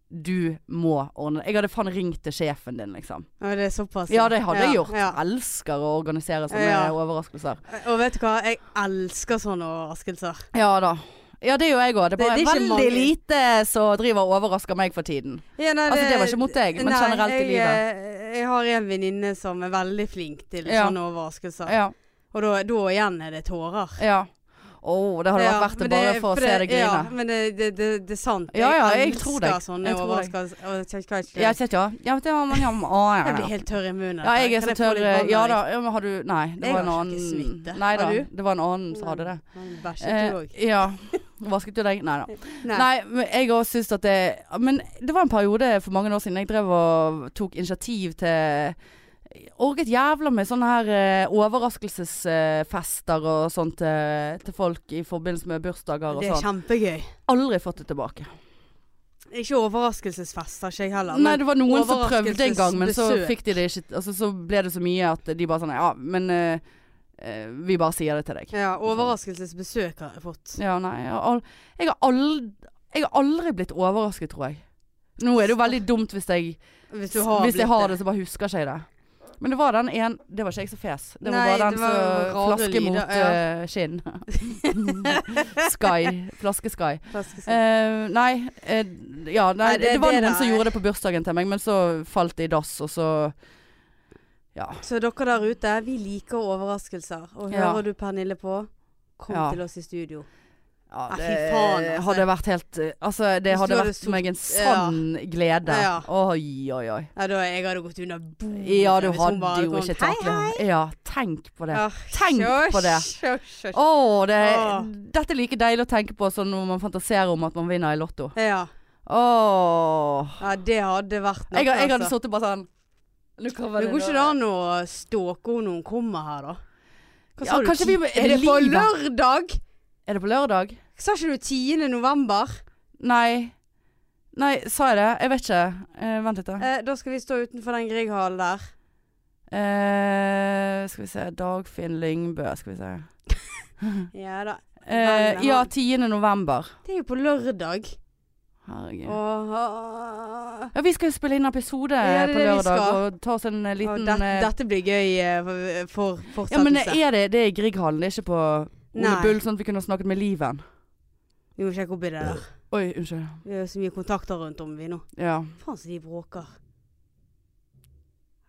A: Du må ordne det. Jeg hadde faen ringt til sjefen din, liksom.
B: Ja, det er såpass.
A: Ja, det hadde jeg gjort.
B: Ja.
A: Elsker å organisere sånne
B: Ja.
A: overraskelser.
B: Og vet du hva, jeg elsker sånne overraskelser.
A: Ja da. Ja, det gjør jeg òg. Det er
B: Det-
A: bare
B: det er ikke
A: veldig
B: mange-
A: lite som driver og overrasker meg for tiden.
B: Ja, nei,
A: Altså, det var ikke mot deg, men generelt i
B: jeg,
A: livet.
B: eh, Jeg har en venninne som er veldig flink til
A: Ja.
B: sånne overraskelser.
A: Ja.
B: Og da, da igjen er det tårer.
A: Ja. Å, det hadde vært verdt det bare for å se deg
B: Ja,
A: grine.
B: men det, det, det, det er sant.
A: Ja, ja, jeg
B: elsker
A: tror deg.
B: sånne
A: Jeg tror deg.
B: overraskelser. Og jeg kjenner ikke-
A: Ja, ikke sant, ja. Ja, vet du, ja, men ja, men, å, ja,
B: Jeg blir
A: ja.
B: helt tørr i munnen.
A: ja, jeg er så
B: Kan jeg få
A: tørr. eh,
B: litt vann
A: Ja
B: av
A: da,
B: deg?
A: ja, men har du Nei, det
B: Jeg
A: var en
B: har ikke
A: annen
B: smitte.
A: Nei da,
B: Har du?
A: det var en annen som hadde det.
B: Men Bæsjet
A: Eh,
B: du òg?
A: ja. Vasket du deg? Nei da.
B: Nei.
A: Nei, men jeg òg syns at det Men det var en periode for mange år siden jeg drev og tok initiativ til Orget jævla med sånne her eh, overraskelsesfester og sånt eh, til folk i forbindelse med bursdager og
B: Det er
A: sånn.
B: kjempegøy.
A: Aldri fått det tilbake.
B: Ikke overraskelsesfester, ikke jeg heller.
A: Nei, det var noen som prøvde en gang, men så
B: overraskelsesbesøk.
A: fikk de det ikke altså, Så ble det så mye at de bare sånn Ja, men eh, eh, vi bare sier det til deg.
B: ja, overraskelsesbesøk har jeg fått.
A: Ja, nei. Jeg har, al jeg, har aldri, jeg har aldri blitt overrasket, tror jeg. Nå er det jo veldig dumt hvis jeg
B: Hvis du har
A: Hvis jeg
B: blitt
A: har det, så bare husker ikke jeg det. Men det var den en Det var ikke jeg som fes. Det var
B: Nei,
A: bare
B: det
A: den
B: var
A: som
B: rare
A: Flaske mot
B: lyder, ja.
A: eh, skinn. sky. Flaske-Sky.
B: Flaskesøk.
A: Eh, nei, eh, ja, nei,
B: Nei,
A: det,
B: det-
A: var
B: det
A: noen
B: da-
A: som gjorde det på bursdagen til meg, men så falt det i dass, og så Ja.
B: Så dere der ute, vi liker overraskelser. Og
A: Ja.
B: hører du Pernille på, kom
A: Ja.
B: til oss i studio.
A: ja
B: Ah, fy
A: det
B: faen, altså.
A: hadde vært helt eh, Altså, det
B: Hvis
A: hadde
B: du hadde
A: vært
B: sort-
A: meg en sann glede.
B: Ja.
A: Oi, oi, oi.
B: Ja, da jeg hadde gått under bordet.
A: Ja, du
B: hvis hun
A: hadde
B: bare
A: jo
B: kom,
A: ikke
B: «Hei,
A: taklet det. sånn, Ja, tenk på det.
B: hei!»
A: Å,
B: Ah,
A: Tenk
B: sjå,
A: på det.
B: sjå, sjå, sjå.
A: det,
B: Åh.
A: dette er like deilig å tenke på som når man fantaserer om at man vinner i Lotto.
B: Ja.
A: Åh
B: ja, det hadde vært noe.
A: Jeg, jeg hadde
B: altså.
A: sittet bare sånn Nå kommer
B: Det går
A: nå.
B: ikke det an å stalke henne når hun kommer her, da? Hva
A: Ja,
B: sa du?
A: kanskje vi må- er
B: er det
A: det
B: på
A: livet?
B: lørdag?
A: Er det på lørdag?
B: Sa ikke du 10. november?
A: Nei. Nei, sa jeg det? Jeg vet ikke. Eh, vent litt, da.
B: Eh, da skal vi stå utenfor den Grieghallen der.
A: Eh, skal vi se. Dagfinn Lyngbø, skal vi se.
B: Ja da.
A: Eh, ja, 10. november.
B: Det er jo på lørdag.
A: Herregud.
B: Åh,
A: Ja, vi skal jo spille inn episode
B: Ja, det
A: på
B: er det vi
A: lørdag
B: skal.
A: og ta oss en eh,
B: Og
A: liten
B: det,
A: eh,
B: dette blir gøy eh, for- for fortsettelse.
A: Ja, men er det, det er i Grieghallen, det er ikke på Ole
B: eh, Nei.
A: Bull, sånn at vi kunne ha snakket med Liven.
B: Vi må sjekke opp i det der.
A: Oi, unnskyld.
B: Vi har så mye kontakter rundt om vi nå.
A: Ja.
B: Faen så de bråker.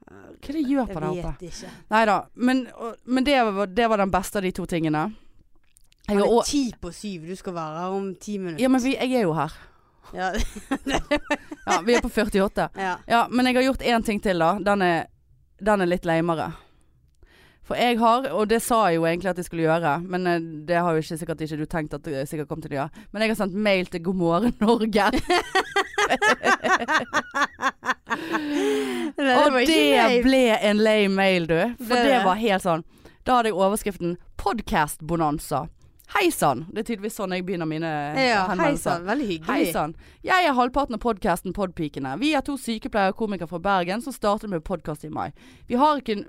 A: Hva er det de gjør
B: Jeg
A: på der oppe?
B: vet ikke.
A: Nei da. Men, og- men det, var, det var den beste av de to tingene. Jeg,
B: Det
A: har
B: er
A: også-
B: ti på syv, du skal være her om ti minutter.
A: ja, men vi, jeg er jo her.
B: Ja,
A: Ja, vi er på 48.
B: ja.
A: Ja, men jeg har gjort én ting til, da. Den er, den er litt leimere. For jeg har, og det sa jeg jo egentlig at jeg skulle gjøre, men eh, det har jo ikke, sikkert ikke du tenkt at du sikkert kom til å gjøre. Men jeg har sendt mail til God morgen Norge.
B: Nei,
A: og
B: var ikke
A: det
B: meg.
A: ble en lame mail, du. For
B: Ble
A: det
B: det?
A: var helt sånn Da hadde jeg overskriften 'Podcast-bonanza'. Hei sann! Det er tydeligvis sånn jeg begynner mine
B: Ja, hei
A: henvendelser.
B: sann. Veldig hyggelig.
A: Hei sann. liksom. Jeg er halvparten av podkasten Podpikene. Vi er to sykepleiere og komikere fra Bergen som startet med podkast i mai. Vi har, ikke,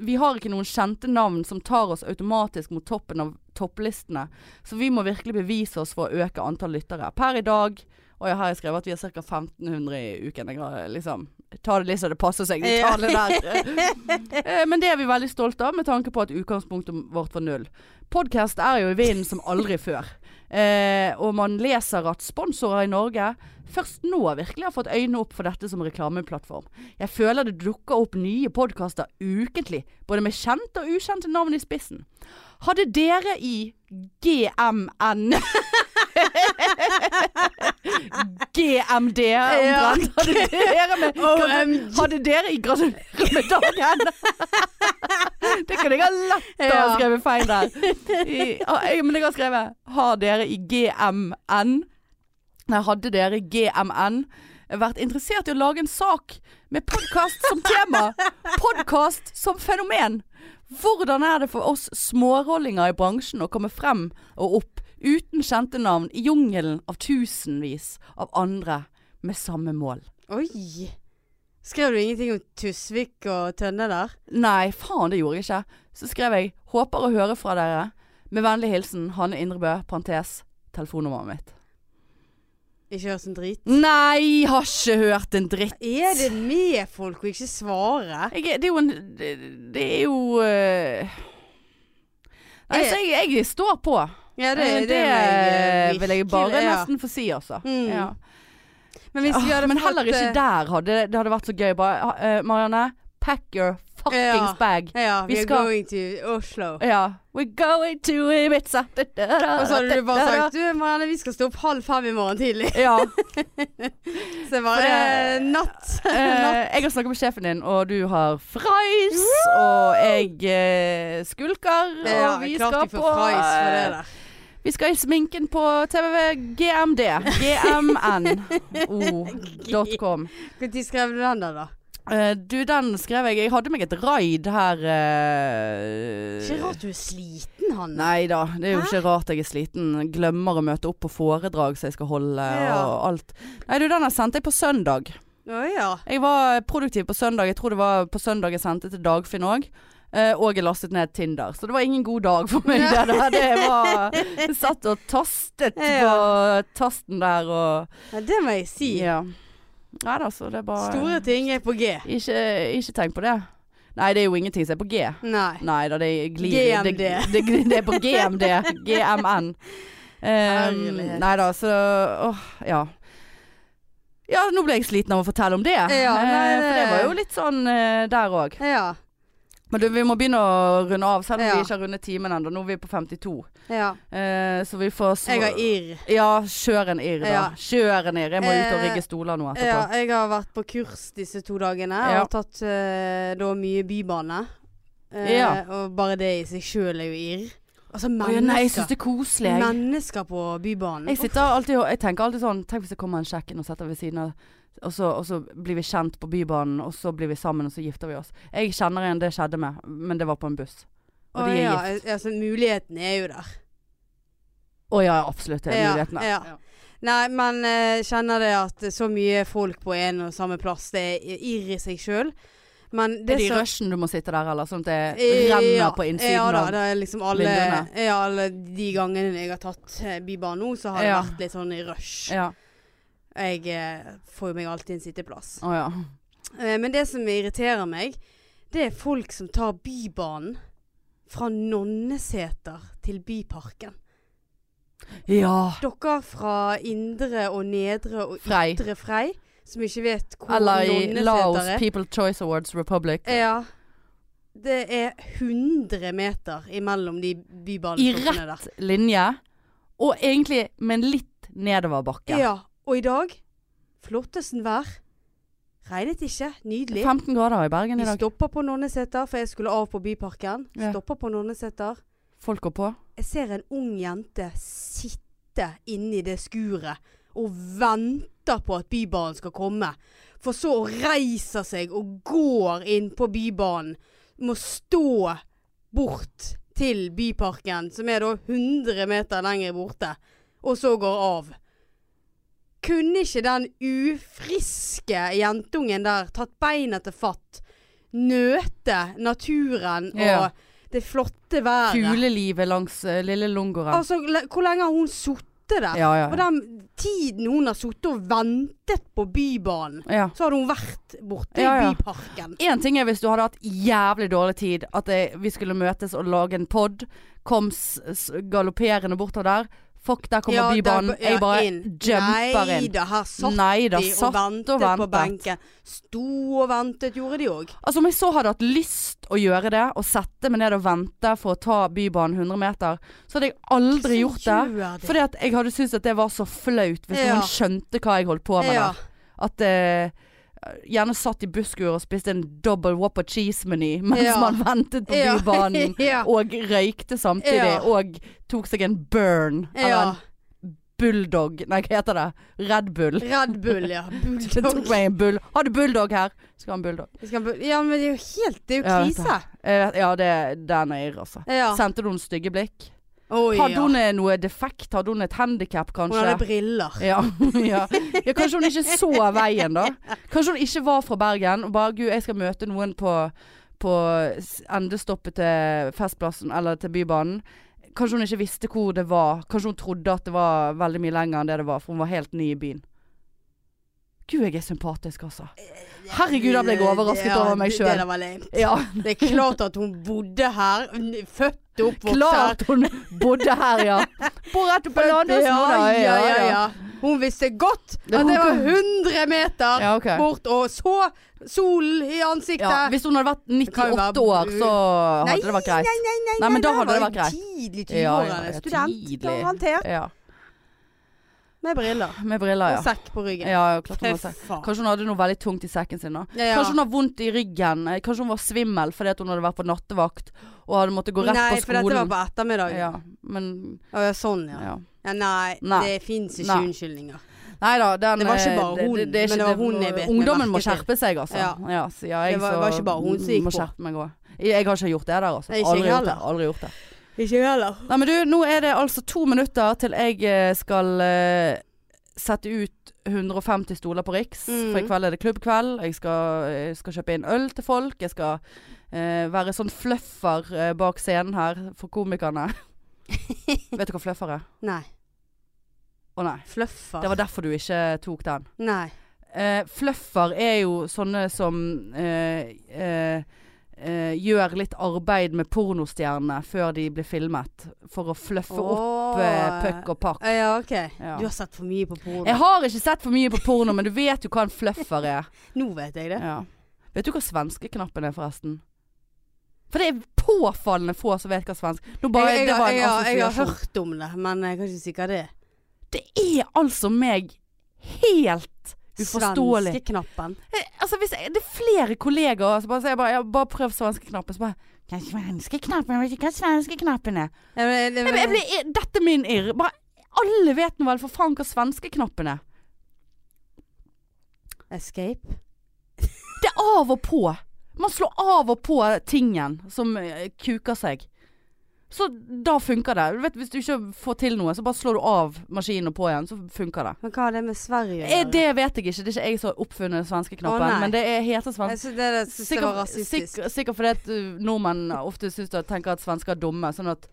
A: vi har ikke noen kjente navn som tar oss automatisk mot toppen av topplistene, så vi må virkelig bevise oss for å øke antall lyttere. Per i dag og jeg har jeg skrevet at vi har ca. 1500 i uken. Jeg har liksom, ta det litt så det passer seg. De tallene der. Eh, Men det er vi veldig stolte av, med tanke på at utgangspunktet vårt var null. Podkast er jo i vinden som aldri før. Eh, og man leser at sponsorer i Norge først nå virkelig har fått øynene opp for dette som reklameplattform. Jeg føler det dukker opp nye podkaster ukentlig, både med kjente og ukjente navn i spissen. Hadde dere i GMN GMD omtrent. Hadde dere med
B: OMG.
A: hadde dere i gratulerer med dagen? det kunne jeg ha lett å ha
B: Ja.
A: skrevet feil der. I, ah, jeg, men jeg har skrevet 'Har dere i GMN'? Nei, hadde dere i GMN vært interessert i å lage en sak med podkast som tema? Podkast som fenomen! Hvordan er det for oss smårollinger i bransjen å komme frem og opp uten kjente navn i jungelen av tusenvis av andre med samme mål?
B: Oi. Skrev du ingenting om Tusvik og Tønne der?
A: Nei, faen det gjorde jeg ikke. Så skrev jeg 'Håper å høre fra dere'. Med vennlig hilsen Hanne Indrebø, parentes, telefonnummeret mitt.
B: Ikke hørt en drit.
A: Nei, har ikke hørt en dritt.
B: Er det med folk å ikke svare?
A: Jeg, er- det er jo en Det, det er jo øh, Nei, så jeg, jeg står på.
B: Ja,
A: Eh, det
B: jeg, eh,
A: vil jeg bare
B: virkelig- ja.
A: nesten få si, altså.
B: Mm.
A: Ja.
B: Men hvis vi hadde
A: Men
B: fått,
A: heller ikke
B: eh,
A: der hadde det hadde vært så gøy. Bare, eh, Marianne, pack your fuckings
B: Ja.
A: bag.
B: Ja,
A: Vi
B: vi are
A: skal-
B: going to Oslo.
A: Ja. We're going to Ibiza.
B: Og så hadde du bare sagt Du Marianne, vi skal stå opp halv fem i morgen tidlig.
A: Ja.
B: Så jeg bare
A: For det-
B: eh, Natt.
A: Eh, jeg har snakket med sjefen din, og du har fries, og jeg eh, skulker, og
B: Ja,
A: vi
B: klart
A: skal
B: de får
A: på
B: price for det
A: eh,
B: der.
A: Vi skal i sminken på TVV GMD. GMNO.com.
B: Når skrev du den der, da?
A: Eh, du, den skrev jeg. Jeg hadde meg et raid her eh,
B: Ikke rart du er sliten, Hanne.
A: Nei da, det er jo ikke rart jeg er sliten. Glemmer å møte opp på foredrag som jeg skal holde
B: Ja.
A: og alt. Nei du, den her sendte jeg på søndag.
B: Å ja.
A: Jeg var produktiv på søndag. Jeg tror det var på søndag jeg sendte til Dagfinn òg. Eh, og jeg lastet ned Tinder. Så det var ingen god dag for meg. Det, der. det var Jeg satt og tastet
B: Ja.
A: på tasten der og
B: Ja, Det må jeg si.
A: Ja. Nei da, så det er bare
B: Store ting er på G.
A: ikke, ikke tenk på det. Nei, det er jo ingenting som er på G.
B: Nei.
A: Nei da, det glir
B: GMD.
A: Det, det, glir- det er på GMD. GMN. Um,
B: Herlighet.
A: nei da, så Åh, ja. Ja, nå ble jeg sliten av å fortelle om det.
B: Ja, nei,
A: Eh, for det
B: det-
A: var jo litt sånn eh, der òg.
B: Ja.
A: Men du, vi må begynne å runde av, selv om
B: Ja.
A: vi ikke har rundet timen ennå. Nå er vi på 52.
B: ja.
A: Eh, så vi får sv-
B: Jeg har irr.
A: Ja, kjør en irr, da.
B: Ja.
A: Kjør en irr. Jeg må ut og
B: Eh,
A: rigge stoler nå
B: Ja,
A: etterpå.
B: jeg har vært på kurs disse to dagene
A: Ja.
B: og tatt eh, da mye bybane. Eh,
A: Ja.
B: Og bare det i seg sjøl er jo irr. Altså
A: Å,
B: mennesker.
A: ja, nei, jeg syns det er koselig. jeg.
B: mennesker på bybanen.
A: Jeg sitter alltid og jeg tenker alltid sånn Tenk hvis det kommer en kjekk inn og setter ved siden av og så, og så blir vi kjent på Bybanen, og så blir vi sammen, og så gifter vi oss. Jeg kjenner en det skjedde med, men det var på en buss. Og
B: Å,
A: de er
B: ja,
A: gift.
B: eh, Altså, muligheten er jo der.
A: Å ja, absolutt. Det er
B: Ja,
A: muligheten.
B: ja. Nei, men eh, kjenner det at så mye folk på en og samme plass, det er irr i seg sjøl. Men
A: Det
B: det
A: er det i
B: som
A: rushen du må sitte der, eller? Sånn at det
B: Ja,
A: renner på innsiden
B: ja, da,
A: av
B: det er liksom alle,
A: vinduene.
B: ja, alle de gangene jeg har tatt eh, Bybanen nå, så har
A: Ja.
B: det vært litt sånn i rush.
A: Ja.
B: Jeg eh, får jo meg alltid en sitteplass.
A: Å ja.
B: Eh, men det som irriterer meg, det er folk som tar Bybanen fra Nonneseter til Byparken.
A: Ja.
B: Dere fra Indre og Nedre og
A: Frei.
B: Ytre Frei, som ikke vet hvor
A: Eller i Laos
B: Nonneseter er.
A: People Choice Awards Republic.
B: eh. Ja. Det er 100 meter imellom de
A: I
B: bybanene der.
A: rett linje, og egentlig med en litt nedoverbakke.
B: Ja. Og i dag Flottesten vær. Regnet ikke. Nydelig.
A: 15 grader i Bergen
B: Vi
A: i dag.
B: stopper på Nonneseter, for jeg skulle av på Byparken.
A: Ja.
B: Stopper på Nonneseter.
A: Folk går på.
B: Jeg ser en ung jente sitte inni det skuret og venter på at Bybanen skal komme. For så reiser seg og går inn på Bybanen. Må stå bort til Byparken, som er da 100 meter lenger borte, og så går av. Kunne ikke den ufriske jentungen der tatt beina til fatt, nøte naturen og
A: Ja.
B: det flotte været?
A: Fuglelivet langs eh, lille Longoren.
B: Altså, le- hvor lenge har hun sittet der?
A: ja, ja,
B: Og
A: ja.
B: den tiden hun har sittet og ventet på Bybanen,
A: ja.
B: så hadde hun vært borte
A: Ja, ja.
B: i Byparken.
A: Én ting er hvis du hadde hatt jævlig dårlig tid, at jeg, vi skulle møtes og lage en pod, kom s s galopperende bortover der. Fuck, der kommer
B: Ja, der
A: Bybanen.
B: ba- ja,
A: Jeg bare
B: inn.
A: jumper inn.
B: Nei da, her satt
A: Nei da,
B: de og
A: satt
B: ventet,
A: og
B: på
A: ventet.
B: benken. Sto og ventet, gjorde de òg.
A: Altså Om jeg så hadde hatt lyst å gjøre det, og sette meg ned og vente for å ta Bybanen 100 meter, så hadde jeg aldri gjort det. Fordi at jeg hadde syntes at det var så flaut hvis
B: Ja.
A: noen skjønte hva jeg holdt på med
B: ja.
A: der. At eh, Gjerne satt i busskur og spiste en double whopper cheese-meny mens
B: Ja.
A: man ventet på
B: Ja.
A: Bybanen.
B: ja.
A: Og røykte samtidig.
B: Ja.
A: Og tok seg en burn.
B: ja.
A: Eller en bulldog. Nei, hva heter det? Red Bull.
B: Red Bull, ja.
A: Jeg tok
B: Bulldog.
A: meg en bull. Har du bulldog her? Skal ha en bulldog.
B: Jeg skal bu- Ja, men det er jo helt Det er jo
A: Ja, vet
B: krise.
A: Eh, ja, det, den er irr, altså.
B: Ja.
A: Sendte du noen stygge blikk?
B: Oi,
A: Hadde
B: ja.
A: hun eh, noe defekt? Hadde hun et handikap,
B: Hun
A: kanskje?
B: hadde briller.
A: Ja, ja. ja, kanskje hun ikke så veien da. Kanskje hun ikke var fra Bergen og bare Gud, jeg skal møte noen på, på s- endestoppet til Festplassen eller til Bybanen. Kanskje hun ikke visste hvor det var. Kanskje hun trodde at det var veldig mye lenger enn det det var, for hun var helt ny i byen. Gud, jeg er sympatisk, altså. Herregud, da ble jeg overrasket
B: Ja,
A: over meg
B: det-
A: selv.
B: Det der var lame.
A: Ja,
B: Det er klart at hun bodde her, født og oppvokst her.
A: klart hun bodde her, ja. Bor rett oppe på landet,
B: ja,
A: nå, da.
B: ja, ja, ja. Hun visste godt
A: Det-
B: at det var 100 meter
A: Ja, ok.
B: bort, og så solen i ansiktet.
A: Ja, hvis hun hadde vært
B: kan jo
A: 98
B: være-
A: år, så hadde det vært greit.
B: nei, nei,
A: Nei, men da
B: der
A: hadde det
B: var
A: vært
B: hun
A: greit.
B: Tidlig
A: Ja,
B: 20-årene.
A: ja, ja,
B: Student,
A: tidlig.
B: garantert.
A: Ja.
B: Med briller
A: Med briller, ja.
B: og sekk på ryggen.
A: Ja, ja, klart hun har sekk.
B: faen.
A: Kanskje hun hadde noe veldig tungt i sekken sin. da
B: Ja, ja.
A: Kanskje hun har vondt i ryggen. eh, Kanskje hun var svimmel fordi at hun hadde vært på nattevakt og hadde måttet gå rett
B: nei,
A: på
B: for dette var
A: skolen.
B: på ettermiddagen.
A: Ja, men
B: Å, ja, sånn, ja.
A: ja.
B: ja nei,
A: Nei.
B: det fins ikke
A: Nei.
B: unnskyldninger.
A: Nei da, den
B: Det var ikke
A: eh,
B: bare hun,
A: det, det, det er ikke-
B: men det var hun jeg bet meg
A: Ungdommen må
B: merke
A: skjerpe seg, altså.
B: Ja.
A: Ja, så ja, jeg,
B: Det var-
A: så
B: var ikke bare hun som gikk
A: må
B: på.
A: skjerpe meg òg. Jeg har ikke gjort det der, altså.
B: Nei, ikke
A: Aldri
B: jeg
A: gjort det.
B: heller.
A: Aldri gjort det.
B: Ikke jeg heller.
A: Nei, men du, nå er det altså to minutter til jeg eh, skal eh, sette ut 150 stoler på Riks.
B: Mm.
A: For i kveld er det klubbkveld. Jeg skal, jeg skal kjøpe inn øl til folk. Jeg skal eh, være sånn fluffer eh, bak scenen her for komikerne. Vet du hva fluffer er?
B: Nei.
A: Å nei.
B: Fluffer.
A: Det var derfor du ikke tok den.
B: Nei.
A: Eh, fluffer er jo sånne som eh, eh, eh, gjør litt arbeid med pornostjernene før de blir filmet. For å fluffe opp eh, puck og pakk.
B: Ja, OK.
A: Ja.
B: Du har sett for mye på porno.
A: Jeg har ikke sett for mye på porno, men du vet jo hva en fluffer er.
B: Nå vet jeg det.
A: Ja. Vet du hva svenskeknappen er, forresten? For det er påfallende få som vet hva svensk Nå bare,
B: jeg, jeg,
A: Det var en
B: jeg, har- jeg har
A: assosiasjon.
B: hørt om det, men jeg kan ikke si hva det er.
A: Det er altså meg helt uforståelig.
B: Svenskeknappen.
A: Jeg- Altså, hvis jeg, det er flere kollegaer som bare sier bare, jeg bare prøv svenskeknappen. Så bare «Hva er Svenskeknappen, jeg vet ikke hva svenskeknappen er.
B: Jeg, jeg, jeg,
A: Jeg, jeg blir, dette er min irr. Bare alle vet nå vel for faen hva svenskeknappen er.
B: Escape?
A: Det er av og på. Man slår av og på tingen som eh, kuker seg. Så da funker det. Du vet, hvis du ikke får til noe, så bare slår du av maskinen og på igjen, så funker det.
B: Men hva har det med Sverige å
A: Eh, Det vet jeg ikke. Det er ikke jeg som har oppfunnet svenskeknappen,
B: Å, nei.
A: men det er heter
B: Jeg
A: svensk.
B: synes det, jeg synes det var
A: Sikkert
B: rasistisk.
A: sikkert- sikkert fordi at uh, nordmenn ofte syns at, tenker at svensker er dumme. Sånn at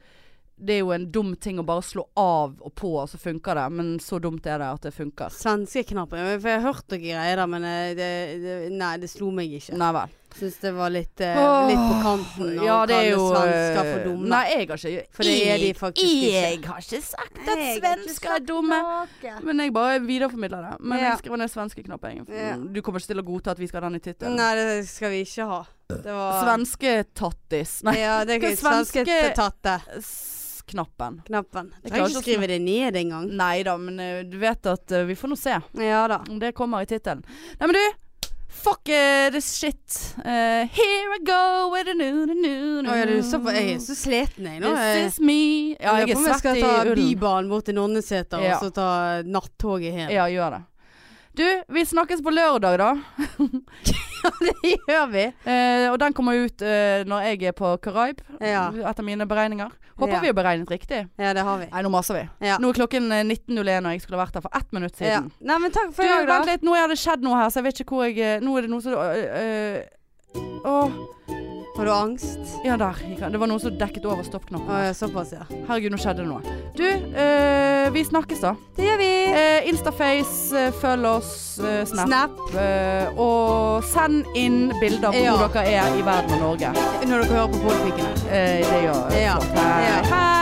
A: det er jo en dum ting å bare slå av og på, og så funker det. Men så dumt er det at det funker.
B: Svenskeknappen. Ja, men For jeg har hørt noen greier der, men eh, det, det, nei, det slo meg ikke.
A: Nei vel.
B: Syns det var litt, eh,
A: Åh,
B: litt på kanten å
A: Ja, det er
B: kalle
A: jo
B: svensker for
A: eh,
B: dumme.
A: Nei, jeg har ikke
B: For det er de
A: jeg-
B: faktisk ikke.
A: Jeg har ikke sagt at
B: Jeg har ikke
A: svensker er
B: sagt
A: dumme.
B: noe.
A: Men jeg bare videreformidler det. Men
B: Ja.
A: jeg skriver ned svenskeknappen.
B: Ja.
A: Du kommer ikke til å godta at vi skal ha den i tittelen.
B: Nei, det skal vi ikke ha. Det var
A: Svensketattis. Nei,
B: Ja, det er
A: Hva svenske-
B: svensketatte.
A: s- knappen.
B: Knappen. Jeg
A: klarer
B: trenger
A: ikke
B: ikke
A: å
B: skrive det ned engang.
A: Nei da, men eh, du vet at eh, vi får nå se
B: Ja da.
A: om det kommer i tittelen. Nei, men du! Fuck eh, this shit. Eh, here I go with a new, new, new,
B: Å, ja, du, så, jeg er så sleten jeg nå. Jeg-
A: This is me. Ja, jeg
B: lurer
A: er
B: på om
A: svett i
B: skal ta
A: ullen.
B: Bybanen bort til Nonneseter
A: Ja.
B: og så ta nattoget hjem.
A: Ja, gjør det. Du, vi snakkes på lørdag, da.
B: det gjør vi.
A: Eh, og den kommer ut eh, når jeg er på Karaib,
B: Ja.
A: etter mine beregninger. Håper
B: Ja.
A: vi har beregnet riktig.
B: ja, det har vi.
A: Nei, nå maser vi.
B: Ja.
A: Nå er klokken eh, 19.01, og jeg skulle vært her for ett minutt
B: Ja.
A: siden.
B: Nei, men takk
A: Du,
B: for i dag, da.
A: vent litt, nå er det skjedd noe her, så jeg vet ikke hvor jeg eh, Nå er det noe som øh, øh, Åh,
B: Har du angst?
A: ja der gikk han. Det var noen som dekket over stoppknappen.
B: Å, ja, såpass, ja.
A: Herregud, nå skjedde det noe. Du, øh, vi snakkes da.
B: Det gjør vi.
A: Eh, Instaface, eh, følg oss, eh, Snap.
B: Snap
A: eh, og send inn bilder av
B: Ja.
A: hvor dere er i verden og Norge.
B: når dere hører på podpikene.
A: Eh, det gjør
B: Ja.
A: Hei.
B: Ja.
A: Hei.